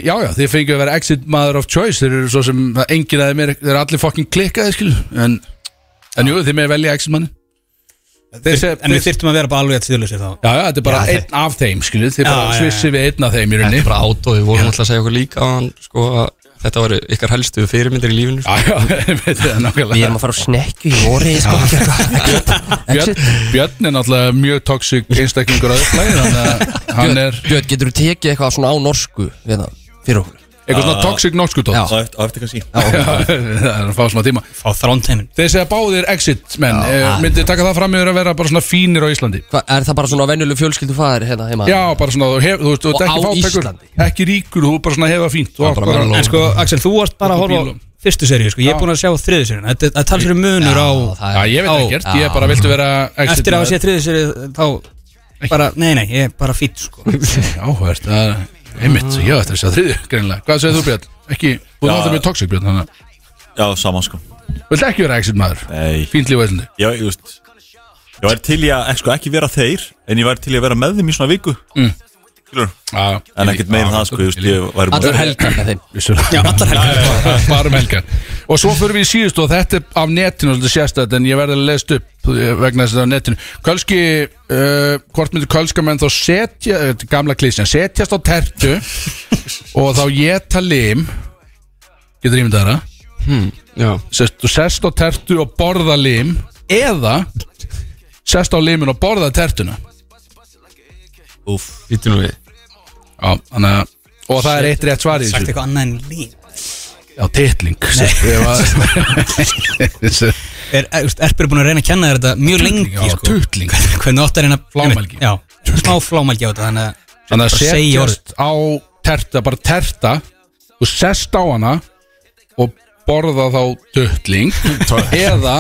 Já, já, þið fengið að vera exit maður of choice þeir eru svo sem, það enginn að þeim er þeir eru allir fokkin klikkaði skil en, en jú, þið með velja exit manni En við þyrftum að vera bara alveg að stíðlösi þá Já, já, þetta er bara einn af þeim, skilju Þið er Já, bara já, já. svissið við einn af þeim í rauninni Bara átóð, við vorum alltaf að segja okkur líka á hann sko að þetta var ykkar helstu fyrirmyndir í lífinu sko. Já, já, einmitt, það er Við nákvæmlega erum að fara á snekju í Nóri sko. Exit, exit. Björn, Björn er náttúrulega mjög toxic einstaklingur að upplæði þannig að hann er Björn, getur þú tekið eitthvað svona á norsku við það, fyrir okkur? eitthvað svona toxic norskutótt Já. það Á eftir, á eftir kannski er að fá smá tíma Fá þránteimin þeir segja báðir exit menn eh, myndi taka það fram yfir að vera bara svona fínir á Íslandi Hva, er það bara svona venjuleg fjölskyldu fæðir hérna heima? já bara svona þú, hef, þú veist þú ert Og ekki á Íslandi. fátækur ekki ríkur þú bara svona hefa fínt og bara, En sko, Axel, þú varst bara að horfa á Bílum. fyrstu seríu, sko Ég Já. er búin að sjá þriðu seríu Þetta það talar sér um munur á það já ég veit ekkert ég bara viltu vera exit Eftir að maður. sé þriðu seríu, þá bara, nei, nei, ég er bara fýtt, sko Áhvert, það er einmitt, ég ætti að segja þriðju greinlega Hvað segir þú Björn? Ekki, þú er Já. náttúrulega mjög toxic Björn þannig að Já, saman sko Vilt ekki vera exit maður? Nei, Fínt líf á Íslandi já, ég veist Ég væri til í að, eh, sko, ekki vera þeir En ég væri til í að vera með þeim í svona viku Mm. Skilur, Já, en ekkert meira en það, sko, ég veist, ég væri Allar helgar með þeim Já, allar helgar Bara um helgar Og svo fyrir við í síðust og þetta er af netinu svolítið sérstætt en ég verði að leðst upp eh, vegna þess að þetta er af netinu Kölski, uh, hvort myndir kölska menn þá setja, eh, gamla klísjan setjast á tertu og þá geta lim Getur ímyndað það? já, sest, þú sest á tertu og borða lim eða sest á limin og borða tertuna Úf, vítum við já, þannig að og það er eitt rétt svar í Sagt þessu eitthvað annað en líf já, titling sest- ég var- er, eh, er, er, Erpur er búin að reyna að kenna þér þetta mjög lengi já, sko. tutling hvernig átt að reyna Flámælgi. já, smá flámælgi á þetta þannig að, þannig að bara segja orð setjast á terta bara terta þú sest á hana og borða þá tutling eða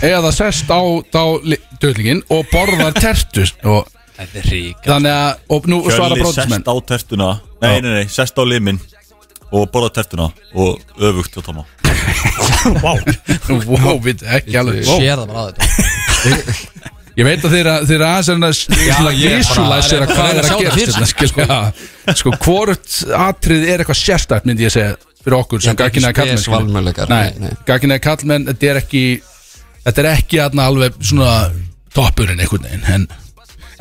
eða sest á þá li- tutlingin og borða tertu og Þetta er rík þannig að og nú svara Kjölli bróðismenn sest á tertuna Nei, nei, nei, sest á limin Og borða tertuna Og öfugt og tóma wow, við ekki alveg wow. Sér það bara á þetta Ég veit að þeirra, þeirra aðeins er að visualisera bara- hvað reyna er að að sjá það sko. fyrir gerast hérna, skilja. Já, Sko, hvort atrið er eitthvað sérstætt myndi ég segja fyrir okkur sem Þetta er ekki gagginæða kallmenn spes valmöguleikar, nei, Nei, nei. gagginæða kallmenn, þetta er ekki þetta er ekki aðna alveg svona toppurinn einhvern veginn en,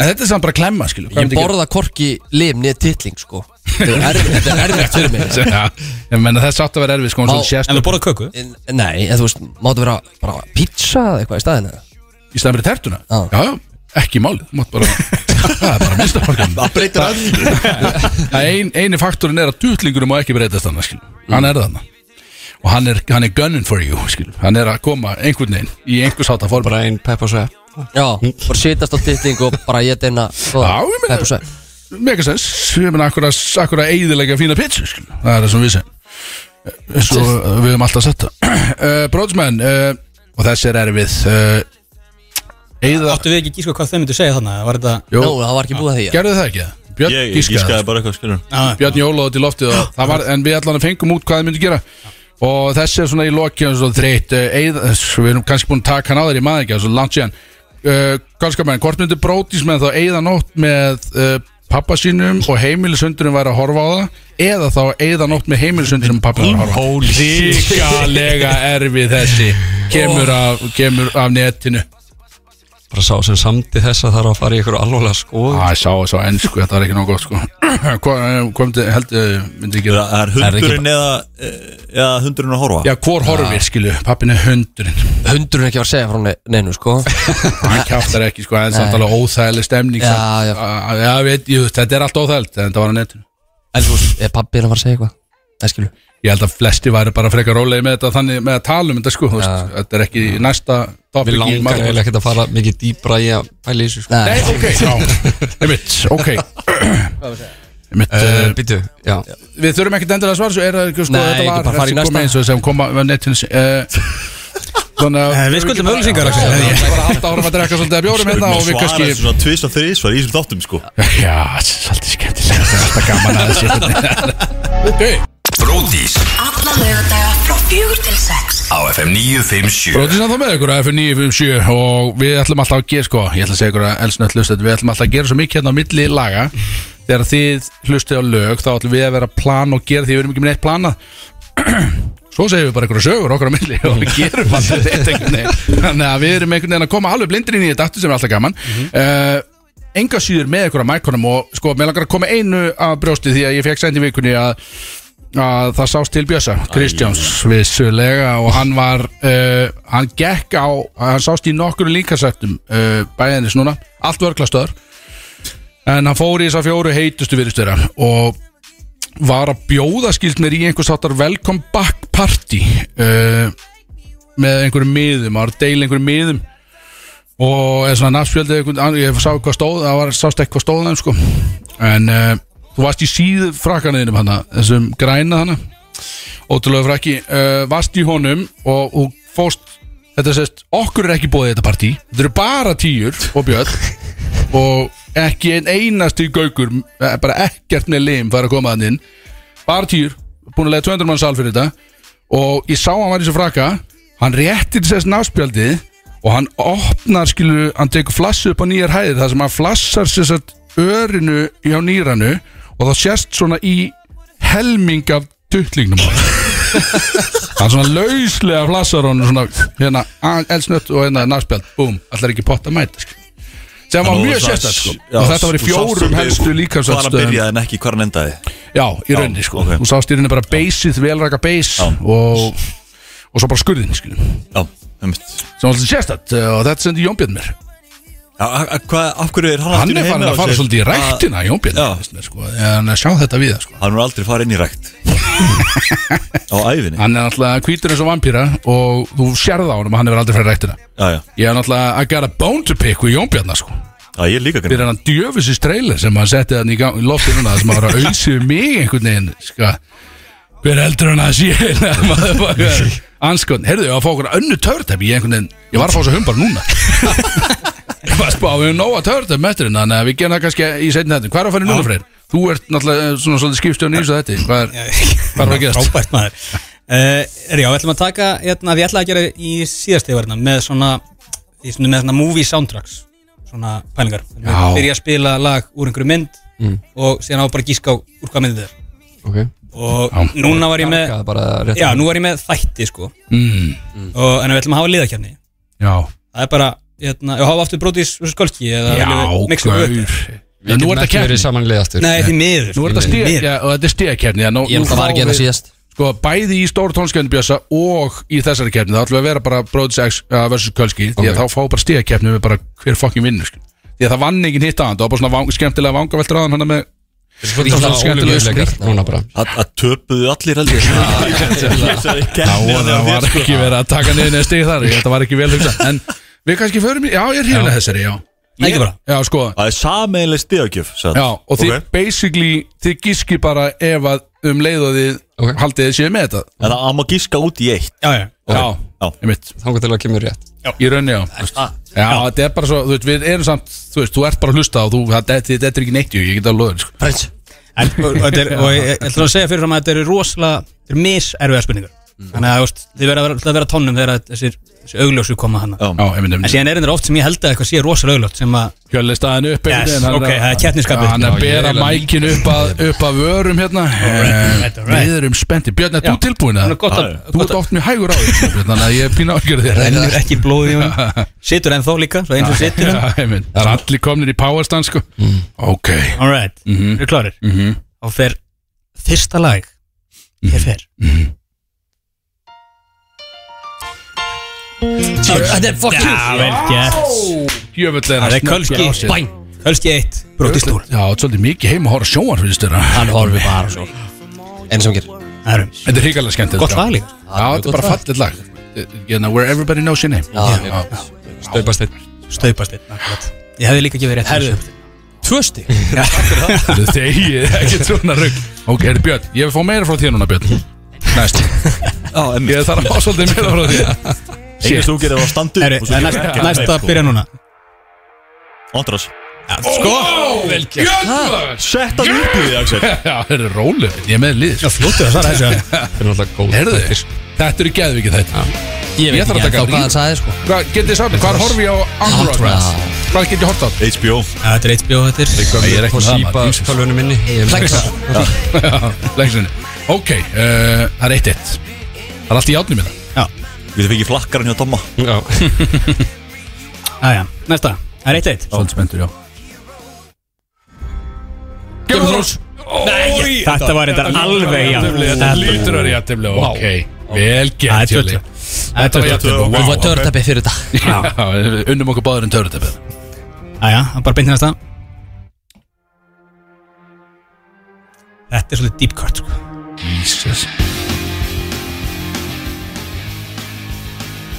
en þetta er samt bara klemma, skilju Ég borða korki lim niður titling sko Þetta er erfitt- þetta er erfitt fyrir mig Ég menna þess átt að vera erfið, sko, hún Má- svona en sérstætt við borðum köku En- Nei, en þú veist, máttu vera bara pizza eða eitthvað í staðinu í staðan fyrir tertuna Já. já, já, ekki málið, þú mátt bara það er bara mista það breytir að ein, eini faktorinn er að dutlingurum má ekki breytast þannig skil. hann er þannig og hann er, hann er gunning for you skil. hann er að koma einhvern veginn í einhvers hátta form bara einn pepp og svepp Já, bara sitast á titling og bara ég deina Já, ég meina- megasens, ég meina akkur að, akkur að eigðilega fína pitch skil. það er það sem við segjum eins og uh, við höfum alltaf sett það uh, Brótsmenn uh, og þessi er erfið uh, eigða, áttu við ekki að gíska hvað þau myndu segja þannig var þetta jú, Nú, það var ekki búið að því gerðu það ekki? Björn Ég giskaði. gískaði bara eitthvað, skilur Já, Björn Jóla út í loftið og það var, en við allan fengum út hvað þið myndu gera og þessi er svona í lokið og þreytt, eh, eyða- við erum kannski búin að taka hann á þér, ég maður ekki, svo langt síðan uh, Galskamenn, hvort myndu brótismenn þá eigða nótt með uh, pappa sínum og heimilisundurinn væri að horfa á það eða þá eigða nótt með heimilisundurinn og pappa væri að horfa á það Ríkalega erfið þessi kemur Oh. af, kemur af netinu bara sá sem samdi þessa þarf að fara í ykkur alvarlega skoð Æ, sá, sá, ennsku, þetta er ekki nóg gott sko Hvað, eh, hvað myndi, heldur, myndi ekki Það er hundurinn eða eh, Eða hundurinn að horfa Já, hvor horfir, skilu, pappin er hundurinn Hundurinn ekki var að segja frá ne- neinu sko hann kjáttar ekki sko, það er samt alveg óþægileg stemning Já, samt. já. Á- á- já veit, ég, þetta er allt óþægilegt en það var á netinu En þú veist, er pappið að fara að segja eitthvað? Nei, skilu ég held að flesti væri bara frekar rólegi með þetta þannig með að tala um þetta sko þú veist, þetta er ekki næsta topic við í langar málinu. eiginlega ekkert að fara mikið dýbra í að pæla í þessu sko Nei, Nei, ok, já, einmitt, ok einmitt, uh, uh, býtu, já við þurfum ekkert endilega að svara svo er það ekki sko, Nei, þetta ekki var bara fara í þessi kom næsta. eins og sem kom á netinu uh, Þannig Eh, Eh, við skuldum auglýsingar, Axel. Ég er bara halda árum að drekka svolítið að bjórum hérna og við kannski Svara svona tvís og þrís Svara í þessum þáttum, sko Já, svolítið skemmtilegt Það er alltaf gaman að þessi Ok Alla lögadaga frá fjögur til sex á FM 957 Bróðis að það með ykkur að F957 og við ætlum alltaf að gera sko ég ætla að segja ykkur að elsnött hlustet við ætlum alltaf að gera svo mikið hérna á milli laga þegar þið hlustið á lög þá ætlum við að vera að plana og gera því við erum ekki með neitt planað svo segjum við bara ykkur sögur okkar á milli og við gerum alltaf þetta einhvern veginn þannig að við erum einhvern veginn að koma alveg blindir inn í þetta aftur sem er alltaf gaman Eh, mm enga síður með ykkur að mækonum og sko, mér langar að koma einu að brjósti því að ég fekk sendi vikunni að að það sást til Bjösa Kristjáns vissulega og hann var uh, hann gekk á, hann sást í nokkur líkasettum uh, bæðinis núna allt vörglastöður en hann fór í þess að fjóru heitustu virðistöðra og var að bjóða skilt mér í einhvers áttar welcome back party uh, með einhverjum miðum, að deila einhverjum miðum og eða svona nafnspjöldið einhvern annan, ég sá hvað stóð, það var sást eitthvað stóð þeim sko en uh, þú varst í síðu frakkaneðinum hana þessum græna hana ótrúlega frakki, uh, varst í honum og hún fóst þetta sést, okkur er ekki bóðið þetta partí þetta eru bara tíur og björn og ekki ein einasti gaukur, eh, bara ekkert með lim fara að koma hann inn, bara tíur búin að lega 200 mann sal fyrir þetta og ég sá hann var í þessu frakka hann réttir þess náspjaldið og hann opnar skilu, hann tekur flassu upp á nýjar hæðir þar sem hann flassar sér satt örinu hjá nýranu og þá sést svona í helming af tuttlíknum á honum. hann svona lauslega flassar honum svona hérna a- eldsnött og hérna náspjald, búm, allar ekki pott að mæta skilu sem var mjög sérstætt sko og þetta var í sko, fjórum helstu Hvað hann líkamsvættstöðum byrjaði en ekki hvað hann endaði Já, í rauninni sko ok. Hún sást í rauninni bara beysið, velraka beys Já. og, og svo bara skurðin skilum. Já, einmitt sem var alltaf sérstætt uh, og þetta sendi Jón Björn mér Já, a- a- Hvað, af hverju er hann Hann aftur er farin heima að á fara sér? svolítið í rættina Jón Björn Já. finnst mér, sko, en að sjá þetta við sko. Að- Hann er aldrei farið inn í rækt Á æfinni Hann er náttúrulega hvítur eins og vampýra og þú sérð á honum að hann hefur aldrei farið í rættina Já, já, Ég er náttúrulega I got a bone to pick við Jón Björn sko. já, ég er líka fyrir kannar hann djöfusist trailer sem hann setti hann í, gang- í lofti núna sem hann var að auðsið mig einhvern veginn sko. hver heldur hann að sé anskotn, heyrðu, ég var að fá okkur önnu törtæp ég, einhvern veginn, ég var að fá þessu humbar núna ég var að spá, við erum nóga törtæp metrin, þannig að við gerum það kannski í setni þetta hvað er að fara í núna freyr? Þú ert náttúrulega eh, svona svolítið skipstjón í þessu þetta hvað er, hvað er að gerast? Frábært maður uh, er, Já, við ætlum að taka hérna, Við ætlum að gera í síðast yfirna með svona, í svona, með svona movie soundtracks svona pælingar Þannig að Já. Byrja að spila lag úr einhverju mynd og síðan á bara að gíska á úr hvað myndið er Ok og Já. núna var ég með Það er bara rétt Já, nú var ég með þætti sko Mm, og, en við ætlum að hafa liðakefni já, það er bara, hérna, ég hafa aftur Brodís og Skolski eða já, viljum við mixa upp gaur Já, Nú er þetta? þetta Við getum ekki verið keppni samanlega aftur Nei, því miður Nú er þetta því stíð, miður. já, og þetta er stíðakeppni já, nú- Ég nú held að var fáum að gera við- síðast Sko, bæði í stóru tónskjöfni Bjössa og í þessari keppni þá ætlum við að vera bara Brodus X uh, versus Kölski því að þá fá bara stíðakeppni við bara hver fokkin vinnur sko. því að það vann enginn hitt aðan það var bara svona vang, skemmtilega vangaveltur aðan hann með Þetta er svona skemmtilegur óluleikar Núna bara Að töpuðu allir heldur Það og það var sko- sko. ekki verið að taka niður neða stíð þar ég held að var ekki vel hugsa en við kannski förum í, já ég er hérna þessari já, Það er ekki bara já sko Það er sameiginlega stíðakjöf já, og þið basically þið gíski bara ef að um leið og þið Ok. haldið þið séu með þetta En það má gíska út í eitt Já, já Já. Ah. já, einmitt Þangar til að kemur rétt Í rauninni, já þú veist. Já, þetta er bara svo, þú veist, við erum samt Þú veist, þú ert bara að hlusta og þú, það- þetta þetta er ekki neitt í, Ég get að loða sko. Prins En, og, og, þetta er, og ég ég ætla að segja fyrirfram að þetta eru rosalega Þetta eru miserfiðar spurningar Mm. Þannig að þú veist, þið verða alltaf að vera tónum þegar að þessir, þessir augljósu koma hana Já. Já, einmitt, En einmitt síðan er þetta oft sem ég held að eitthvað sé rosalega augljótt sem að Hjölli staðin upp einhvern Yes, veginn, hann ok, að- það er keppnisskapur. Já, Hann er Já, að bera ég er alveg- mækin upp að, upp að vörum hérna Alright, Eh, alright. Við erum spennti Björn, er þú tilbúin Hún að er gott að, Þú ert oft mjög hægur á því sko, Björn, Þannig að ég pína ágjörð þér rennur ekki blóði í hún Situr ennþá líka, svo eins og situr hann Já, einmitt. Það er allir komnir í powerstand sko Mm. Ok, All right, Mhm. eru klárir mhm Og fer fyrsta lag Hér fer Þetta er fuck you Já, vel gert Jöfull er Það er snöggur Kölski. á sér. Bæn Hölski eitt, brotið stúl Já, þetta er svolítið mikið heim að horfa sjóar finnst þér Hann horfi bara svo Enn sem hún gerir Það er um Þetta er hrigalega skemmtilegt já. Gott lag líka Já, þetta er bara fallið lag Hérna, Where Everybody Knows Your Name Já, mjög já. Staupast einn Staupast einn Ég hefði líka gefið rétt Herðu Tvö stík Þetta er Þegið, ekki svona rugg Ok, er Björn, ég vil fá meira frá þér núna Björn Næst, Já, emmi ég þarf að fá svolítið meira frá þér Eginn þú gerir það á standu Herru, það er næst- næst að sko. byrja núna sko. Andras Sko, vel gert maður. Sett hann upp í því, Axel Já, þetta er rólið, ég er með lið sko. Flóttu að svara þessu Þetta er náttúrulega góð Heyrðu, þetta eru geðvikið þetta Ég Ég veit þarf að ekki taka ennþá hvað ríf. hann sagði sko Hvað getið þið sátt, hvað horfi ég á Android? Android. Hvað getið ég hort á? HBO Þetta er HBO þetta er Ég er Fór sípa sko. tölvunum minni Flexa Lengsinni Ok, uh, það er eitt eitt Það er allt í hérna. játnum minna Við fikk í flakkaran hjá Tomma Já Æja, næsta Það er eitt eitt Svolítið spenntur, já Game of Thrones Nei, Þetta var reyndar alveg jafn. Þetta lítur að jættifli Ok, vel gert Það er Hjörli. Þetta var jættifli Þú var törtabbi fyrir þetta Unnum okkur báður en töruteppi Æja, hann bara beinti næsta Þetta er svolítið deep cut sko. Jesus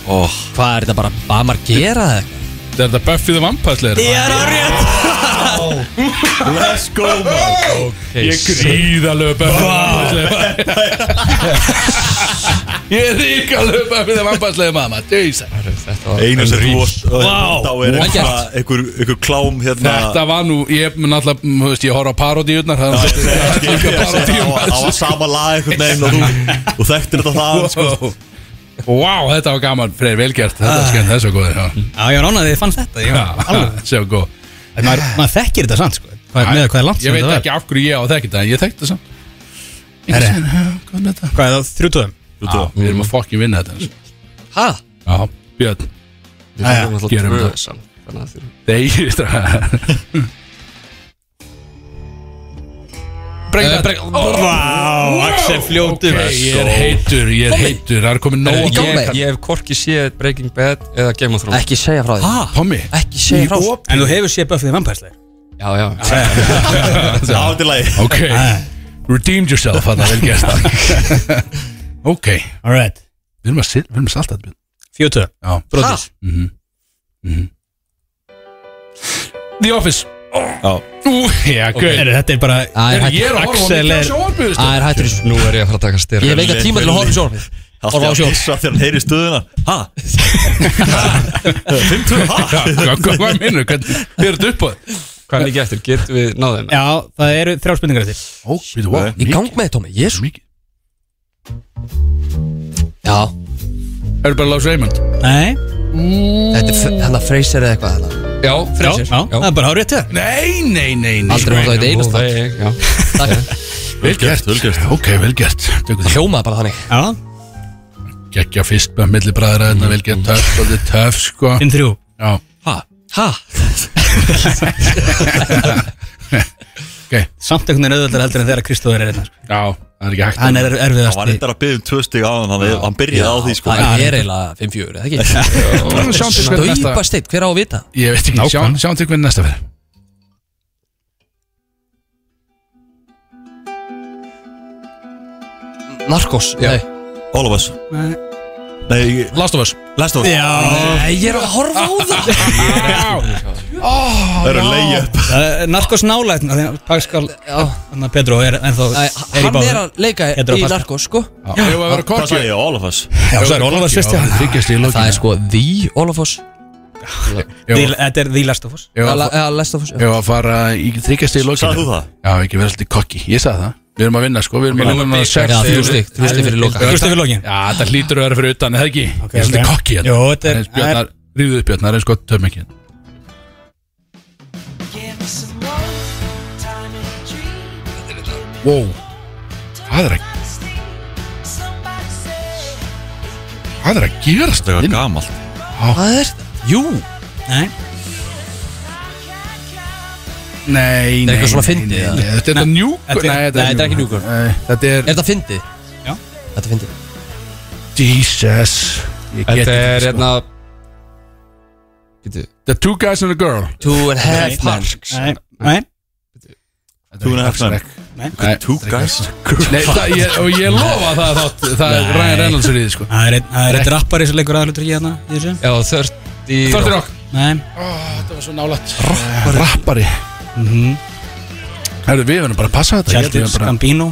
Hvað er þetta bara, hvað maður gera það? Þetta er þetta Buffy the Vampire Slayer Ég er á rétt Let's go man Ég gríðalög Buffy the Vampire Slayer Ég er ríkalög Buffy the Vampire Slayer mamma Jesus Einu sem þú varst Þá er Vel eitthvað gert. Einhver einhver klám hérna Þetta var nú, ég mun alltaf, mm, þú veist, ég horf á parodíunar Það Ég segi, er líka skil, ég segi, parodíum Það það var sama lag einhvern veginn og þú Þú þekktir þetta það sko. Wow, Wow, þetta var gaman, Freyr, vel gert Þetta er skemmt, þessu góður já. Já, ég var ánað að þið fann þetta Ég var Já, alveg Þessu var góð En maður, maður þekkir þetta samt sko hvað, er- Með hvað er Ég langt sem veit þetta ekki af hverju ég á að þekki þetta En ég þekki þetta samt Ég Herre. sé, já, hvað er þetta? var Hvað er það, þrjútuðum? Já, Þú veist, Við erum að fokkin vinna þetta Hæ? Já, Björn Við fengum alltaf gerum tvö það. samt, þannig að þurfum- Þeir Bregða, bregða Vá, Axel fljótur Ok, Ég er heitur, ég er heitur Það er komið nóg Í gang Ég hef hvorki séð Breaking Bad eða Game of Thrones Ekki segja frá því Tommy Ekki segja frá því En þú hefur séð Buffy the Vampire Slayer Já, já, Það var til lagi Ok Redeemed yourself Þannig að vel gert Ok Við Alright erum að, sit- við erum að salta þetta Fjótuðum Já. Brotis The Office Já. Ú, já, gauð Herru, þetta er bara Æ, Ég hættu er að horfa á Axel mikla er- sjónvarpið Æ, veistu. hættur þessu nú er ég að fara að taka styr Ég hef enga tíma til að horfa í sjónvarpið. Það Horfa á var sjón. sjón Þegar hann heyri stöðuna Ha? Já, Hvað 5-2 ha? hvað- hvað meinur, hvernig fyrir þetta upp á það? Hvað er ekki eftir, getum við náðið hennar? Já, það eru þrjá spurningar eftir Ó, við þú, Nei. Í gang með þetta, Tómi, jésu mikið Já, Er bara Lás Raymond Nei þetta er hann að freysa eða eitthvað hana. Já, Já, Freyr já, það er bara hárið til Nei, nei, nei, nei Aldrei hótt á þetta einast Já, Vel gert, vel gert Ok, vel gert Tökum því Hljómaði bara þannig Já, Gekja fyrst með milli bræðra Þetta vel gert töff Svolítið töff, sko þinn þrjú Já, Hæ? Samt einhvern veginn auðvöldar heldur en þegar Kristóður er hérna. einnig já Það er ekki hægt Hann er Það var erfiðast reyndar að byggja um tvö stig á hann Hann byrjaði á því sko Það er eiginlega 5-4, eða ekki? Sjáum til hvernig Daupa næsta steitt, hver á að vita? Ég veit ekki Sjáum sjáum til hvernig næsta fyrir Narkos Nei, All of us Nei, ég- Last of Us last of us Nei, ég er að horfa á það Það eru leið upp Narkos nálægt Þannig að Pascal Já. Þannig að Pedro er ennþá Æ, Er í Hann er báðum að leika Pedro í Pascal. Narkos, sko Ég var að vera Hvað kokki sagði ég? All of us Já, svo er Ólafur svisti hann Þykjast í Það er lókinu sko The Olafoss Því- Þetta er The Last of Us Ég Eða Last of Us já. var að fara í þykjast í lókinu Sagði þú það? Já, ekki vera svolítið kokki Ég sagði það Við erum að vinna, sko Við erum að vinna Já, þrjú stygg, þrjú stygg fyrir loka Kristóður fyrir lokin Já, þetta hlýtur að vera fyrir utan, er það ekki? Ok, Ég er svolítið ok. kokki hérna. Jó, þetta er- Aðeins Bjarnar, rífðu upp Bjarnar, eins gott töfum ekki hérna. Wow, hvað er að Hvað er að gerast hérna? það? Það er gamalt Hvað er þetta? Jú Nei Nei, nei, eitthvað svona nei, fyndið, nei, eða? nei, Þetta er New þetta er- Nei, nei, þetta er ekki New Girl. Nei, Þetta Er er þetta fyndið? Já. Þetta er fyndið Jesus Ég get Þetta ekki, er sko. hérna Býtu, The Two Guys and a Girl Two and a half Nei. men Nei Nei Two and a half men. Nei. Two guys Nei, það, ég, og ég lofa það að þátt, það er Nei. Ryan Reynolds er í því sko Það er einn- það er eitt rappari sem leikur aðlutur í hérna í þessu. já, 30 Þáttir okk Nei Þetta var svo nálægt Rappari Rappari Herðu, við verðum bara að passa þetta Ég held Charles við verðum bara- Gambino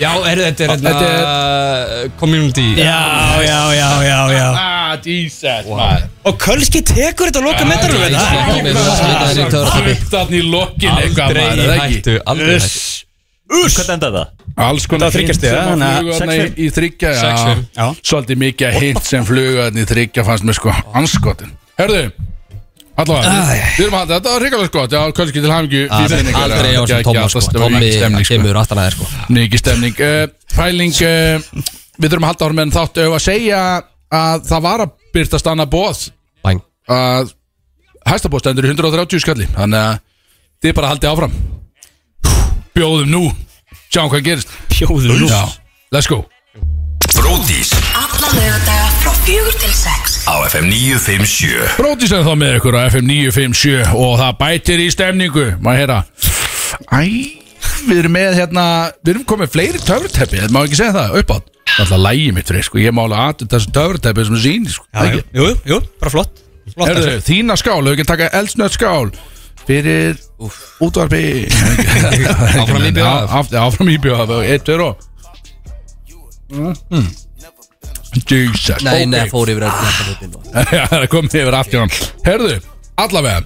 Já, er, þetta er hérna Þetta uh, Community Já, já, já, já, já Ah, Jesus maður. Og Kölski tekur þetta að loka meðdarum Já, við það já, hérna- já. Þannig í lokin eitthvað maður, Aldrei er það ekki? hættu, aldrei hættu Hvernig endaði það? Alls konar Þetta var þriggja hint stiga, sem þannig að að fluga sex þarna í, fimm. í þryggja Sex fimm. Já. Svolítið mikið að hint sem fluga þarna í þryggja fannst mér sko anskotin Herðu Allavega, við erum að þetta var hrikalega skot Já, kannski til hamingju því minningar, Aldrei já, á sem geggjað, Tóma það sko var Tómi mikil stemning, sko. kemur aftan aðeins sko Mikið stemning uh, Pæling, uh, við þurfum að halda ára meðan þáttu ef að segja að það var að byrtast annað bóð Bæn að hæstabóð stendur í 130 skalli þannig að þið bara haldið áfram Bjóðum nú Sjáum hvað gerist Bjóðu nú Já, let's go Bródís Alla laugardaga frá fjögur til sex á FM 957 Brótis er þá með ykkur á FM 957 og það bætir í stemningu Má heyra Æ, við erum með hérna Við erum komið fleiri töfrateppi, þetta má ekki segja það uppátt Það er alltaf lægi mitt fyrir, sko, ég má alveg aðtönd þessu töfrateppi sem sín, sko Já, jú, jú, jú, bara flott Flott Herðu, þessu. þína skál, hefur ekki að taka eldsnött skál fyrir útvarpi Áfram IBF. Áfram íbjóð, eitt fyrir og Mm. Jesus Nei, ok. nei, fór yfir að þetta hlutin og- Já, það er komið yfir aftur hann Herðu, allavega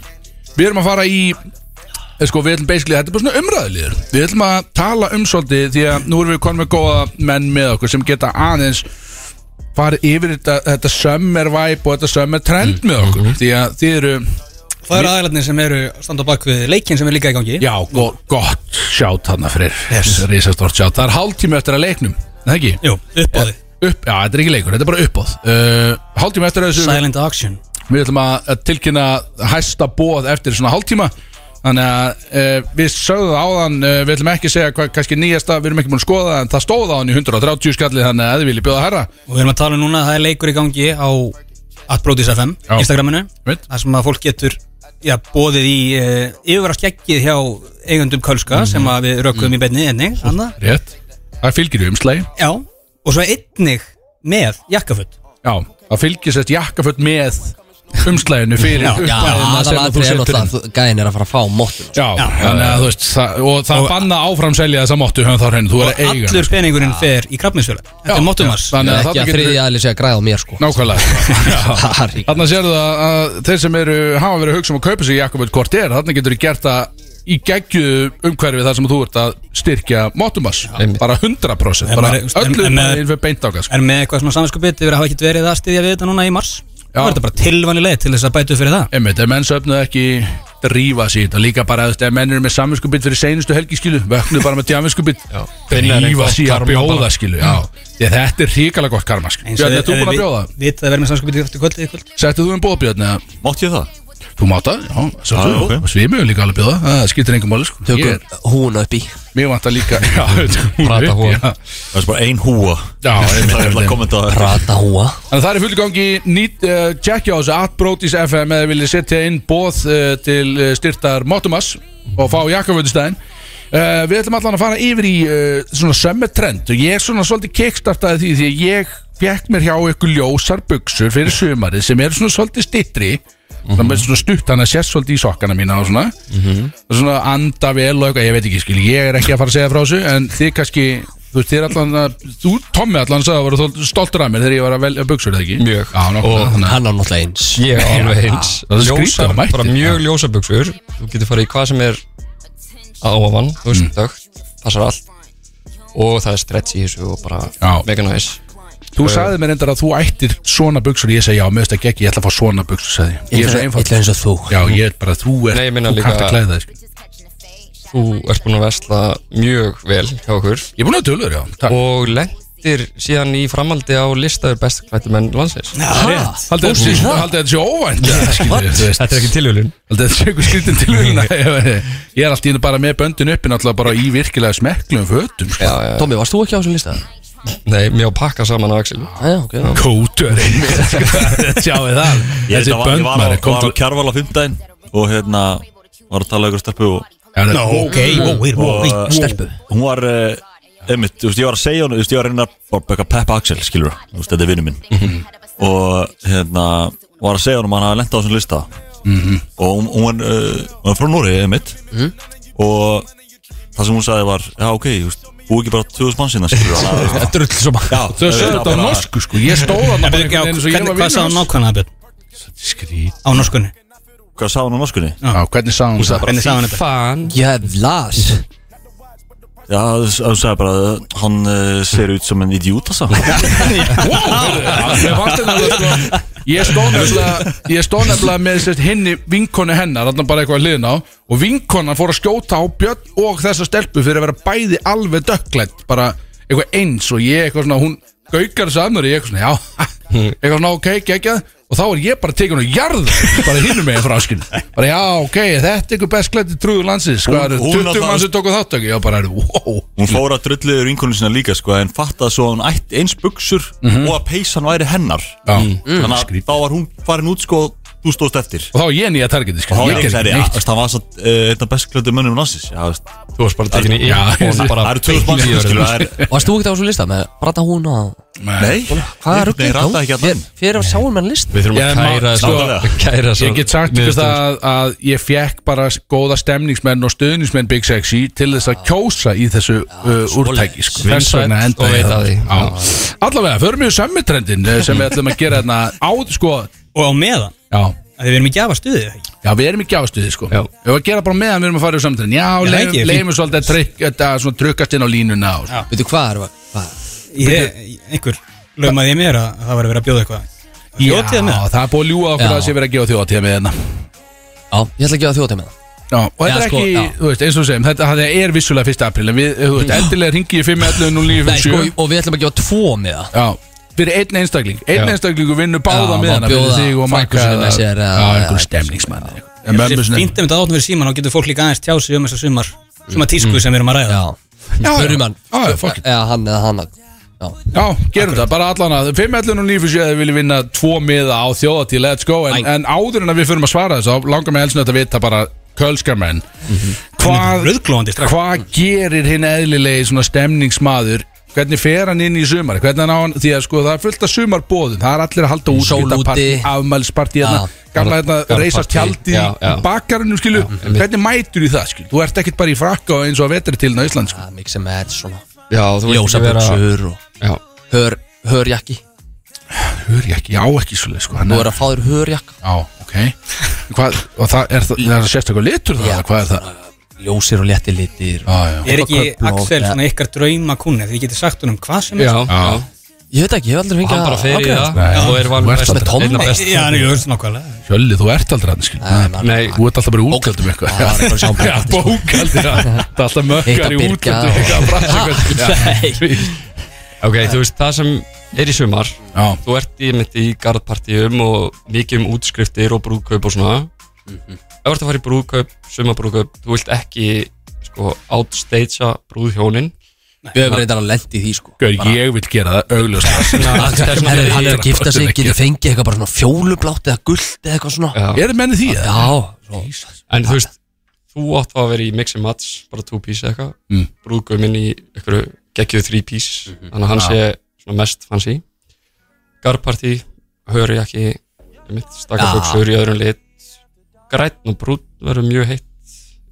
Við erum að fara í eh, sko, Við ætlum basically, þetta er bara svona umræðulíður Við ætlum að tala um svolítið Því að nú erum við konum með góða menn með okkur Sem geta aðeins farið yfir þetta, þetta summer vibe og þetta summer trend með okkur Því að þið eru, Það eru aðlarnir sem eru að standa á bak við leikinn sem er líka í gangi já, go, gott sjátt hann fyrir yes. Rísastort sjátt, það er hálftíma eftir að leiknum er Það ekki? Jú, uppáði Upp, já, þetta er ekki leikur, þetta er bara uppáð uh, Hálftíma eftir að þessu Silent Auction Við ætlum að að tilkynna hæsta bóð eftir svona hálftíma Þannig að uh, við sögðum það áðan uh, Við ætlum ekki að segja hvað kannski nýjasta Við erum ekki búin að skoða það, En það stóð á hann í 130 skalli Þannig að þið viljið bjóða herra Og við erum að tala um núna að það er leikur í gangi á atbrotis.fm, Já. Instagraminu Einmitt. Það sem að fólk getur já, bóðið í uh, yfirvaraskeggið hjá eigundum Mhm. Kölska sem að við rökkum í beinni einnig, annað Rétt Það fylgir í umslagi Já, og svo einnig með jakkaföt Já, það fylgir sérst jakkaföld með umslaginu fyrir Já, upphæðina Já, sem að þú aðalatrið er setur inn. náttúrulega að gæðin er að fara að fá sko. móttun Já, þannig að þú veist það, Og það banna áfram selja þessa mottu Hörn þá hreinu, þú er að eiga Allur peningurinn fer í krabminsfjöla Þetta Já, er mótumars já, þannig að Ekki þarna að getur- þriði aðli sé að græða á mér sko Nákvæmlega Það er ekki- Þarna sérðu það að þeir sem eru, hafa verið að hugsa um að kaupa sig Jakoböld hvort er, þarna getur þú gert það í geggju umhverfi þar sem þú ert að styrkja Motumas, bara 100% En bara maður- en- öllu en maður- maður fyrir beint ákast Er með eitthvað svona samvinskupið yfir að hafa ekkert verið að styðja við þetta núna í mars Já. Það er þetta bara tilvanileg til þess að bætu fyrir það Einmitt, ef menn söfnuð ekki drífa sér þetta líka bara, þú veist, ef menn eru með samvinskubit fyrir seinustu helgiskilu, vöknuð bara með djaminskubit Finna þeir drífa gott sér að karma bjóða bara. skilu, já Því að þetta er hrikalega gott karma, skilu Björn, er þú búin að bjóða? Vitað að vera með samvinskupið eftir kvöldið í kvöld Sættu þú um bóð, Björn, eða Mátt ég það? þú máta, já, Já, sættu ok. þú Svimur líka alveg bjóða, það skiptir engum máli, sko Ég er- Tökum húna upp í Mér vantar líka Já, Prata húa. Já, Það er bara ein húa já einmitt, Það er alltaf að einmitt. kommenta Prata húa En það er í fullu gangi nýtt, uh, Tjekkja á þessu Atbrotis FM eða viljið setja inn Bóð uh, til uh, styrtar Motumas Og fá Jakoböldustæðin uh, Við ætlum allan að fara yfir í uh, Svona sömmetrend Og ég svona svolítið kickstartaði því Því að ég fekk mér hjá ykkur ljósar buksur Fyrir sömarið sem eru svona svolítið stittri Svona með svona stutt hann að sér svolítið í sokkana mína og svona og svona anda vel og eitthvað, ég veit ekki skil ég er ekki að fara að segja frá þessu en þið kannski, þú veist, þið er allan að þú, Tommi allan sagði að voru þó- stoltur af mér þegar ég var að velja buksur, eða ekki? Mjög. Já, nokkuð, þannig að Hann á náttúrulega eins Ég er alveg eins það er skrítið að mætti. bara mjög ljósa buksur Þú getur farið í hvað sem er á ofan Þú veist, dögt, passar allt Og það er stretch í þessu og bara Já. mega næs þú Eh. sagði mér endar að þú ættir svona buksur, ég segi já, mér veist ekki ekki, ég ætla að fá svona buksur, sagði ég. ég er svo einfalt, Ítla eins og þú já, ég er bara, þú er Nei, ég meina þú líka- kannt að klæða þig, sko. Þú ert búin að vesla mjög vel hjá okkur ég er búin að tölur, já, takk Og lendir síðan í framaldi á listaður best klættu menn landsins Haldið þetta sé- haldið þetta sé óvænt eða, skilurðu, þú veist. Þetta er ekki tilhjölin Haldið þetta sé einhver skrítin tilvíðina Ég er allt í hennu bara með böndin uppi Náttúrulega bara í virkilega smekklum fötum sko. Tommi, varst þú ekki á þessum lista? Nei, mér á pakka saman á Axel Já, ok kóturinn sjáu það Ég þessi þetta var- ég var á- böndmæri kom var til á kjarval á fimmdæn Og hérna Var að tala ykkur stelpu og no, og, uh, stelpu. Hún var eh, einmitt, þú veist, ég var að segja hún Ég var að reyna að bæka Peppa Axel, skilur Þú veist, þetta er vinnu minn Og hérna, var að segja hún um að hann hafa lent á þessum lista Og hún, hún, var, eh, hún var frá Nóri, einmitt Og það sem hún sagði var Já, ok, þú veist, bú ekki bara 2000 mann sinna, skilur Þetta er öll sem að Já, þau sögðu þetta á norsku sko ég stóð hann bara Byrju, já, einhvern veginn eins og ég hvernig- var Hvað sá vinur hans. nákvæmlega Björn? Skrýt. Á norskunni Hvað sá hún á norskunni? Já, hvernig sagði hún það Hvernig sá hann þetta? Jævlas Já, þú sagði bara Hann uh, ser út sem en idiot, það sá Mér fannst þetta alveg, sko, ég stóð nefnilega ég stóð nefnilega með sérst, hinni vinkonu hennar þarna bara eitthvað hliðin á og vinkonan fór að skjóta á Björn og þessa stelpu fyrir að vera bæði alveg dökklætt bara Hmm. eitthvað eins og ég eitthvað svona hún gaukar þessu að mér og ég eitthvað svona já eitthvað svona ok, geggjað og þá er ég bara tekinn og jarð bara hinnum meginn frá áskinn bara já ok, þetta er ykkur best klætti trúður landsins Hún- hvað eru hún 20 náttúrulega- mann sem tóku þáttöku já bara er wow Hún fór að drulliður vinkunum sína líka sko En fattaði svo að hún ætti eins buksur Og að peysan væri hennar Já. Þannig að þá var hún farin út sko Þú stóðst eftir og þá er ég nýja targeti sko. Og þá ég ger er ekki það neitt Það var satt uh, einn af bestklötu mönnum nassis Já, þú veist, þú varst bara tekin í já, það það eru 2000 manns sem skilur það er- Varst þú ekkert á þessu lista með Rata hún og Nei, Hvað er Nei, rataði hérna. ekki hérna. allan Fyrir að sjá um hann list Við þurfum Ég að má- kæra sko, þessu Kæra þessu Ég get sagt ykkur það að, að ég fekk bara s- góða stemningsmenn og stöðningsmenn Big Sexy til þess að kjósa í þessu uh, úrtæki sko. Þess Vinsæll vegna enda og veit að því. Allavega, förum við sömmutrendin sem við ætlum að gera hérna á, sko, Og á meðan já, að Þið verðum í gjafa stuði já, við erum í gjástuði sko. Já. Ef við gera bara meðan við erum að fara í sömmutrendin Já, Já, leifum- ekki, leifum svolítið að trykk- þetta svona trukkast inn á línuna og, Já. Veitu hvað er það? ég, Einhver lögmaði ég mér að það var að vera að bjóða eitthvað Bjótið með það það er búið að ljúga okkur Já. að sé verið að gefa þjóðatíða með hérna Já, ég ætla að gefa þjóti með það Já, og þetta Já, er sko, ekki, já. þú veist, eins og við segjum, þetta þetta er vissulega 1. apríl, en við, eh, þú veist, endilega ringi í 5.11.09.57 Nei, sko, og við ætlum að gefa tvo með það Já, fyrir einn einstakling Einn einstaklingu vinnur báða Já, með má hana fyrir bjóða þig og frænku makka sinni með sér, eða- eða- Já, einhver stemningsmann eða eitthvað. En mömmu Fínt sinni- ef þetta átnum fyrir síman og getur fólk líka aðeins tjá sig um þessar sumar Suma tísku sem við erum að ræða Já, Já, spörum já. hann Já, já, fuck it. Eða hann eða hann Já, Já, gerum það, bara allan að 5.11 og 9.57 eða vilja vinna tvo miða á þjóðatíð, let's go en, Æ. en áður en að við förum að svara þessu þá langar mig helst nöðt að vita bara kölskamenn Mhm. hvað, Rauðglóðandi strax hvað gerir hinn eðlilegi svona stemningsmaður hvernig fer hann inn í sumar hvernig hann á hann, því að sko það er fullt af sumarbóðum það er allir að halda útskiptapartí Sólúti. afmælspartí, Já. hérna, gamla hérna Gamla reisa partí, tjaldi já, í já. bakarunum skilu, hvernig mætur í það skilu þú ert ekkert bara í frakka og eins og að vetri til á Ísland sko. það er mikið sem er svona Já, þú vilt ekki vera Ljósabuxur og Já, hör, hörjakki hör ég ekki, ég á ekki svolítið sko, hann Þú er að fá þér hörjakka Já, ok hvað, Og það er, það er sérstaklega litur það, Já. eða hvað er það? Ljósir og létti litir Já, já Er ekki Köfló, Axel ja. svona ykkar drauma kunni Þið getið sagt honum hvað sem já er Já. Ég veit ekki, ég hef aldrei Og fengið hann bara fer í það Nei. Og er valin Þú ert best- með Tommy. einna best- Já, nú, ég veist nákvæmlega Hjölli, þú ert aldrei hann, skil Nei, nei, Nei. Þú ert alltaf bara í útkaldum eitthvað Já, það er bara að sjá um Já, bókhaldið, bókaldi sko. Það er alltaf mökkar Hitta í Birgja útkaldum og- eitthvað að brasa eitthvað. Já. Ok, þú veist, það sem er í sumar Já, Þú ert í myndi í garðpartíum og mikið um útskriftir og brúðkaup og svona Ef þú ert að fara í brúðkaup, sumabrúðkaup Þú vilt ekki, sko, outstagea brúðhjónin Við höfum reyndar að lendi í því sko Gaur, ég vil gera það augljóst Herru, hann er að gifta sig, getur fengið eitthvað bara svona fjólublátt eða gult eða eitthvað svona Já. Er þið mennið því? eða? Já, svo- En þú veist, þú átt þá að vera í mix and match Bara two piece eða eitthvað Mm. Brúðkaupin minn í einhverju geggjuð three piece Þannig að hann sé svona mest fancy Garðpartí, höri ekki mitt, Stakar Já. buksur í öðrum lit Grætn og brún verður mjög heitt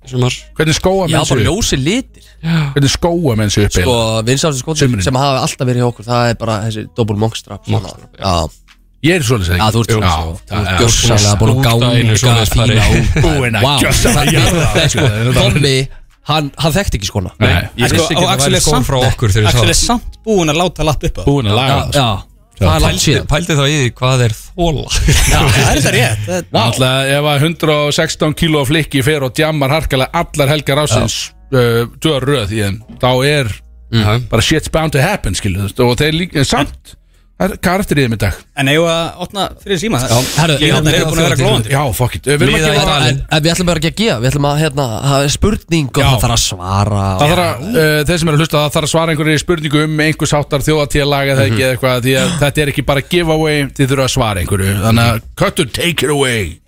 í sumar Hvernig skóa já menn bara sig upp? ljósi litir Hvernig skóa menn sig upp? Sko, eiginlega? vinsástu Sumrin. skotin sem hafa alltaf verið hjá okkur Það er bara þessi dobbul monkstrap svona. Monkstrap, já. Já, Ég er svolítið Já, þú ert Já, Þú það ert er- gjörsanlega búin að gána Út af einu svoleiðis pari. Búin að Vá, gjörsamlega það- jarða það, sko. sko, Tommy, hann, hann þekkti ekki skona Nei, Ég Sko, vissi ekki og að það Axel væri er skóð samt- frá okkur þegar ég sá Axel er það. samt búin að láta lapp upp á Búin að laga það, Já, sko. já, það er langt Pældi, síðan pældi þá í því hvað er þóla Það er þetta rétt það- Alltaf ef að 116 kíló af flikki fer og djammar harkalega allar helgar ásins uh, dör röð í þeim þá er bara shit's bound to happen skilu, og þeir líka en samt það er karakter í þeim í dag En eigum við að opna fyrir síma það herru, Ég held að þeir eru búin að vera glóðandi já, fuck it, Eh, við erum að Miðað í gefa dalinn. En, en við ætlum bara ekki að gefa, við ætlum að hérna, það er spurning og Já. það þarf að svara Það þarf að, uh, þeir sem eru að hlusta, það þarf að svara einhverju spurningu um einhvers háttar þjóðatíðalag eða ekki eða eitthvað, því að þetta er ekki bara giveaway, þið þurfa að svara einhverju, þannig að Köttur, take it away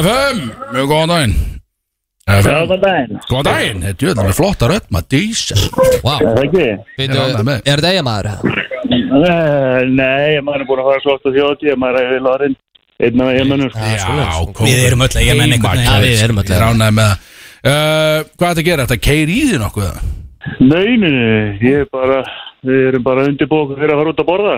FM, mjög góðan daginn FM, Góðan daginn, góðan daginn, þetta er jöðlega flotta rödd, maður dísa og, wow, það ekki? veitu, er ánægður með þig. er þetta eigamæður? Eh, Nei, maður er búin að fara slótt á þjóti, maður er við lorinn, einn af ég mönnur. Já, kom Við erum öll eigamenn einhvern veginn. Heimakær. Já, við erum öll Ég er ánægð með það uh, Hvað er þetta að gera? Þetta keir í því nokkuð eða? Nei, nei, nei, ég er bara, við erum bara undirbúið fyrir að fara út að borða.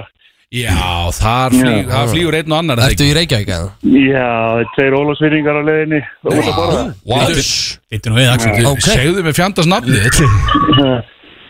Já, þar flýg, það flýgur einn og annar er það Ertu í Reykjavík eða? Já, tveir ólagsvinningar á leiðinni, út að borða. Wow. Vittu nú við Axel Okay. Ok. Segðu mig fjandast nafni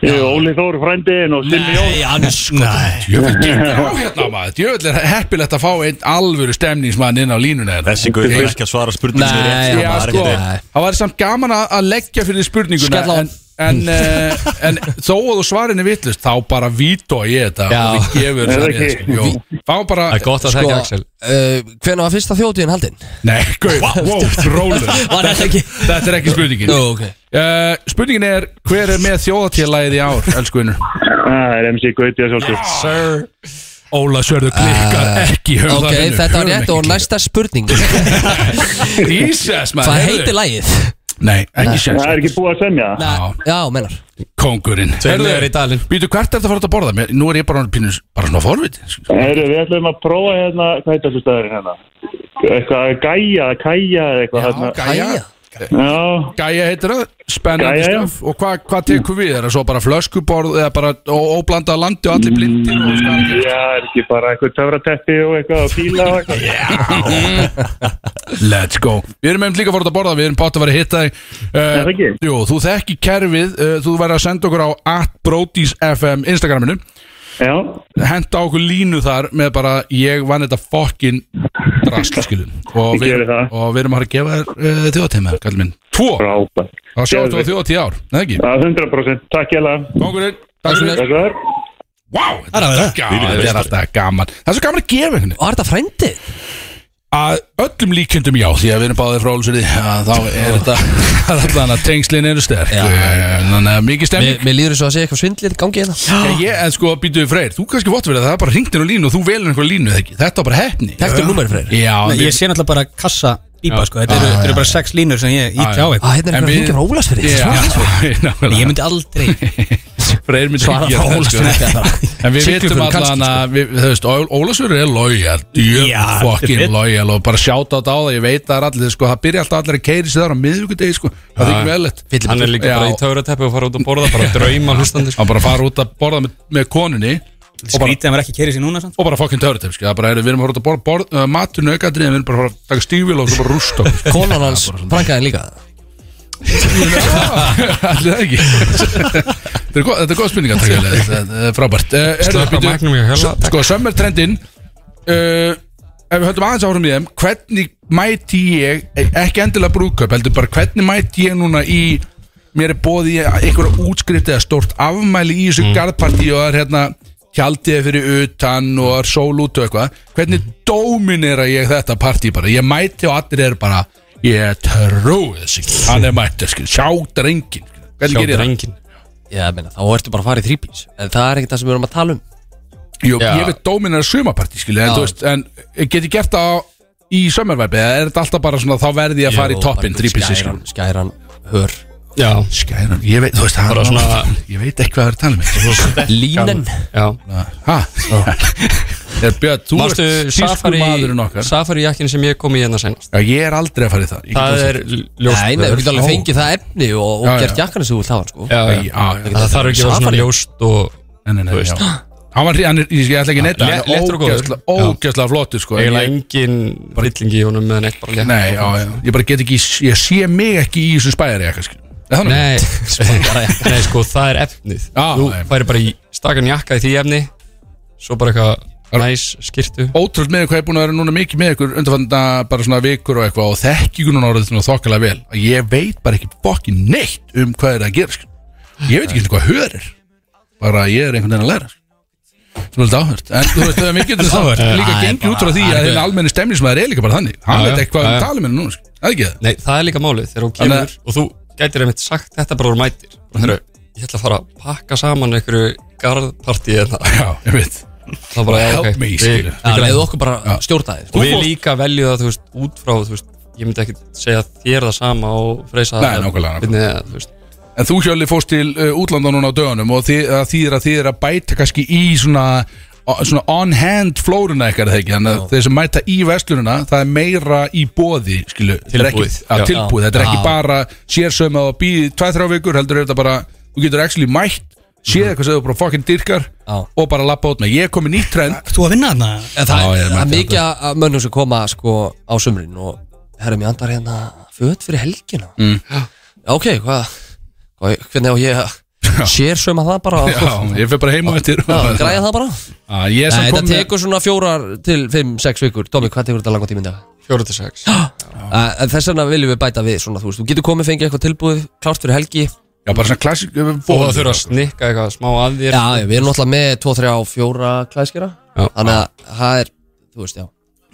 Ég er Óli Þór, frændiðinn og Stilmi Jón. Nei, annars sko Nei Jöfnveld gengur á hérna maður Jöfnveld er heppilegt að fá einn alvöru stemningsmann inn á línuna hérna. Þessi guður er ekki að svara spurningum Nei, sem er rétt. já, Það Já, er sko, ekki- nei. það var samt gaman að- að leggja fyrir því spurninguna Skella á. en En, uh, en þó að þú svarin er vittlust Þá bara víto ég þetta Já. Og við gefur Er það sannig, ekki? sko. Jú. Fá bara Það er gott að sko, þekka Axel Hvernig eh, var fyrsta þjóðtíðin haldinn? Nei, gauð, wow, rólu Var þetta ekki? Þetta er ekki spurningin Jú, uh, ok Spurningin er, hver er með þjóðatíðalæðið í ár, elsku vinnur? Það er MC Gauti að sjálfsög Sir Óla Sörðu klikkar ekki höfum Eh, Ok, það vinnur, þetta var höfum rétt ekki og klikkað. næsta spurning Jesus, maður Hvað heyrðu. heitir lagið? Nei, ekki sér Það er ekki búið að semja Já. Já, mennar Kongurinn liðar í dalinn. Býtu, hvert er þetta að fara út að borða? Mér- Nú er ég bara, pínu, bara svona sko. forvit Heyrðu, við ætlum að prófa hérna, hvað heitir þessu staðurinn hérna? Eitthvað gæja, kæja eða eitthvað hérna. Gæja Já, Gæja heitir það Spennandi Gæja, já. stöf Og hvað hva tekur við? Er það svo bara flöskuborð Eða bara óblanda landi og allir blindir og hvað er já, er ekki bara eitthvað töfrateppi og eitthvað og píla og eitthvað. það? Let's go Við erum einmitt líka að fara út að borða Við erum pátt að vera að hitta þig Er það uh, ekki? Jú, þú þekki kerfið uh, Þú verður að senda okkur á atbrotisfm Instagraminu Já, henda okkur línu þar með bara ég vann þetta fokkin drasl skilum og Ég við, geri það. og við erum að fara að gefa þér uh, þjóðatíma kallið minn, tvo, frábært. það sjáum þú Geðveikt. að þjóðatíð ár neða ekki, Já, 100%. Takk ég alveg. kongurinn, takk fyrir Takk fyrir. wow, þetta er alltaf gaman, þetta er alltaf gaman það er svo gaman að gefa einhvern veginn. Var þetta frændið? að öllum líkjöndum já, því að við erum báðið frá Ólsverði að þá er þetta það er allan að tengslin eru sterk Eh, þannig að mikið stemning Mér, mér líður svo að segja eitthvað svindlir í gangi hérna Já, Ég, en sko, býtuðu freyr, þú kannski vott verið að það er bara ringtir á línu og þú velur einhver línu, eða ekki? Þetta var bara heppni Þekktu númerið, Freyr? Já, Nei, við- Ég sé náttúrulega bara kassa bípa sko. Þetta Já, eru, þetta já. eru bara sex línur sem ég ítti á Á, eitthvað hérna En er eitthvað að við- hringja frá Ólafsfirði Já, Ég nákvæmlega myndi aldrei Freyr myndi Svara ekki frá gera það, sko. Ólafsfirði En við Siglufjörður vitum kannski, allan að við- Þú veist, Ólasverður er lojal Já, Djöfn þetta fokkin er- lojal Og bara sjáta á það, ég veit að það er allir sko, Það byrja alltaf allir að keiri sig þar á miðvíkudegi sko. Það þykir vel eitt Hann er líka bara í töfrateppi og fara út að borða bara drauma hlustandi sko. Hann bara fara út að borða með, með konunni Skrítið að maður ekki kerið sér núna samt Og bara fokkin töfratef sko. Það er bara, heyrðu, Við erum að fara út að borða borð, uh, maturinn aukaðrið Við erum bara að fara að taka stífil og svo bara rústa okkur, sko. Konan hans frankaði líka Allir það ekki Þetta er gott- þetta er góð spurning að taka Elías. Þetta er Frábært Eh, heyrðu, Slökkva býtu, magnum í að hella. s- Sko, sömmertrendin uh, Ef við höldum aðeins áhrum í þeim Hvernig mæti ég eh, Ekki endilega brúðkaup, heldur bara Hvernig mæti ég núna í Mér er bóði einhverja útskrift eða stórt afmæli í Mm. þessu garðpartí og það er hérna tjaldið fyrir utan og það er sól út og eitthvað hvernig dóminera ég þetta partí bara ég mæti og allir eru bara ég trúi þessu ekki, hann er mættur skil, sjá drengin skil. hvernig Sjá gerir ég það? drengin Já, meina, þá ertu bara að fara í þrýbís En það er ekkert það sem við erum að tala um Jú, Já. ég veit dóminera sumapartí skil, en, Já. þú veist, en eh, get ég gert það á- í sömmervæpi eða er þetta alltaf bara svona þá verði ég að fara í Jú, toppin bara þrýpissi skil Skæran, skæran, hör Já, skæran, ég veit, þú veist hann, Bara svona- ég veit ekki hvað það er að tala um Línen já Ha? Er Björn, þú ert Marstu tísku safari, maðurinn okkar safari jakkin sem ég kom í hérna senast Já, ég er aldrei að fara í það Ég Það get er ljóst Nei, nei, þú getur alveg fengið það efni og, og Já, já. gert jakkan sem þú vilt hafa hann, Já, sko það já. Já, já, Það þarf ekki að vera svona ljóst og Nei, nei, nei, Þú veist. já Hann var, hann er, ég ætla ekki neitt le- léttur og góður. Ógæslega flottur sko en eiginlega ég- engin rillingi í honum meðan eitt bara létt Nei, já, já Ég bara get ekki, ég sé mig ekki í þessum spæri eitthvað skil Er það nú? Nei, nei, sko, það er efnið Já, Þú nei. færi bara í stakan jakka í því efni Svo bara eitthvað næs skirtu Ótrúld með hvað ég er búin að vera núna mikið með ykkur undanfanda bara svona vikur og eitthvað og þekki ykkur núna orðið svona þokkalega vel að ég veit bara ekki fokkin neitt um hvað er að gera skil. ég veit ekki einu hvað hör er bara ég er einhvern veginn að læra skil. sem er alltaf áhört en þú veist það er mikið þess að líka gengið út frá því að hinn almenni stemnismæður er líka bara þannig hann Já, já, veit já, eitthvað já. um talið minni núna skil. Það er ekki það Nei, það er líka málið þegar hún Þannig kemur og þú gætir einmitt sagt þetta bara úr mætir og þeirra, ég ætla að fara að pakka saman einhverju garðpartíi en það já, ég veit það bara, já, Help ok, me, við- skilur. Já, við leiðu græðum. okkur bara sko. stjórna þig og við líka veljum það, þú veist, út frá þú veist, ég myndi ekki segja þér það sama og freysa Nei, það, nákvæmlega, nákvæmlega. hvernig það, þú veist En þú Hjölli fórst til uh, útlanda núna á dögunum og þið, að þýðir að þið er að bæta kannski í svona, á- svona on-hand flóruna ekkert þegar ekki Þannig að þeir sem mæta í vestlununa það er meira í bóði skilu Þetta er ekki, Tilbúið, að, já. tilbúið. Þetta er ekki Já. bara sérsöma og býði 2-3 vikur heldur er þetta bara, þú getur actually mætt séð eitthvað sem þú bara fucking dyrkar Já. og bara lappa út með, ég er komið nýtt trend Ert Þú að vinna þarna? En það Já, ég er er það er mætti mikið að mönnum sem koma sko á sumrin og herrum ég andar hérna föt fyrir helgina mm. Ok, hvað hvað- hvernig á ég að sér söma það bara og- Já, ég um fyrir bara heim og eftir Já, græja það bara Já, ég er Nei, samt Þetta komið með- tekur svona fjórar til fimm, sex vikur Tómi, hvað tekur þetta langan tíma í dag? fjóra til sex Uh, en þess vegna viljum við bæta við svona, þú veist, þú getur komið fengið eitthvað tilbúið, klárt fyrir helgi Já, bara svona klassik Og það þurfa að snikka eitthvað smá að þér Já, já, við erum náttúrulega með 2, 3 og 4 klæskera Já. Þannig að það er, þú veist, já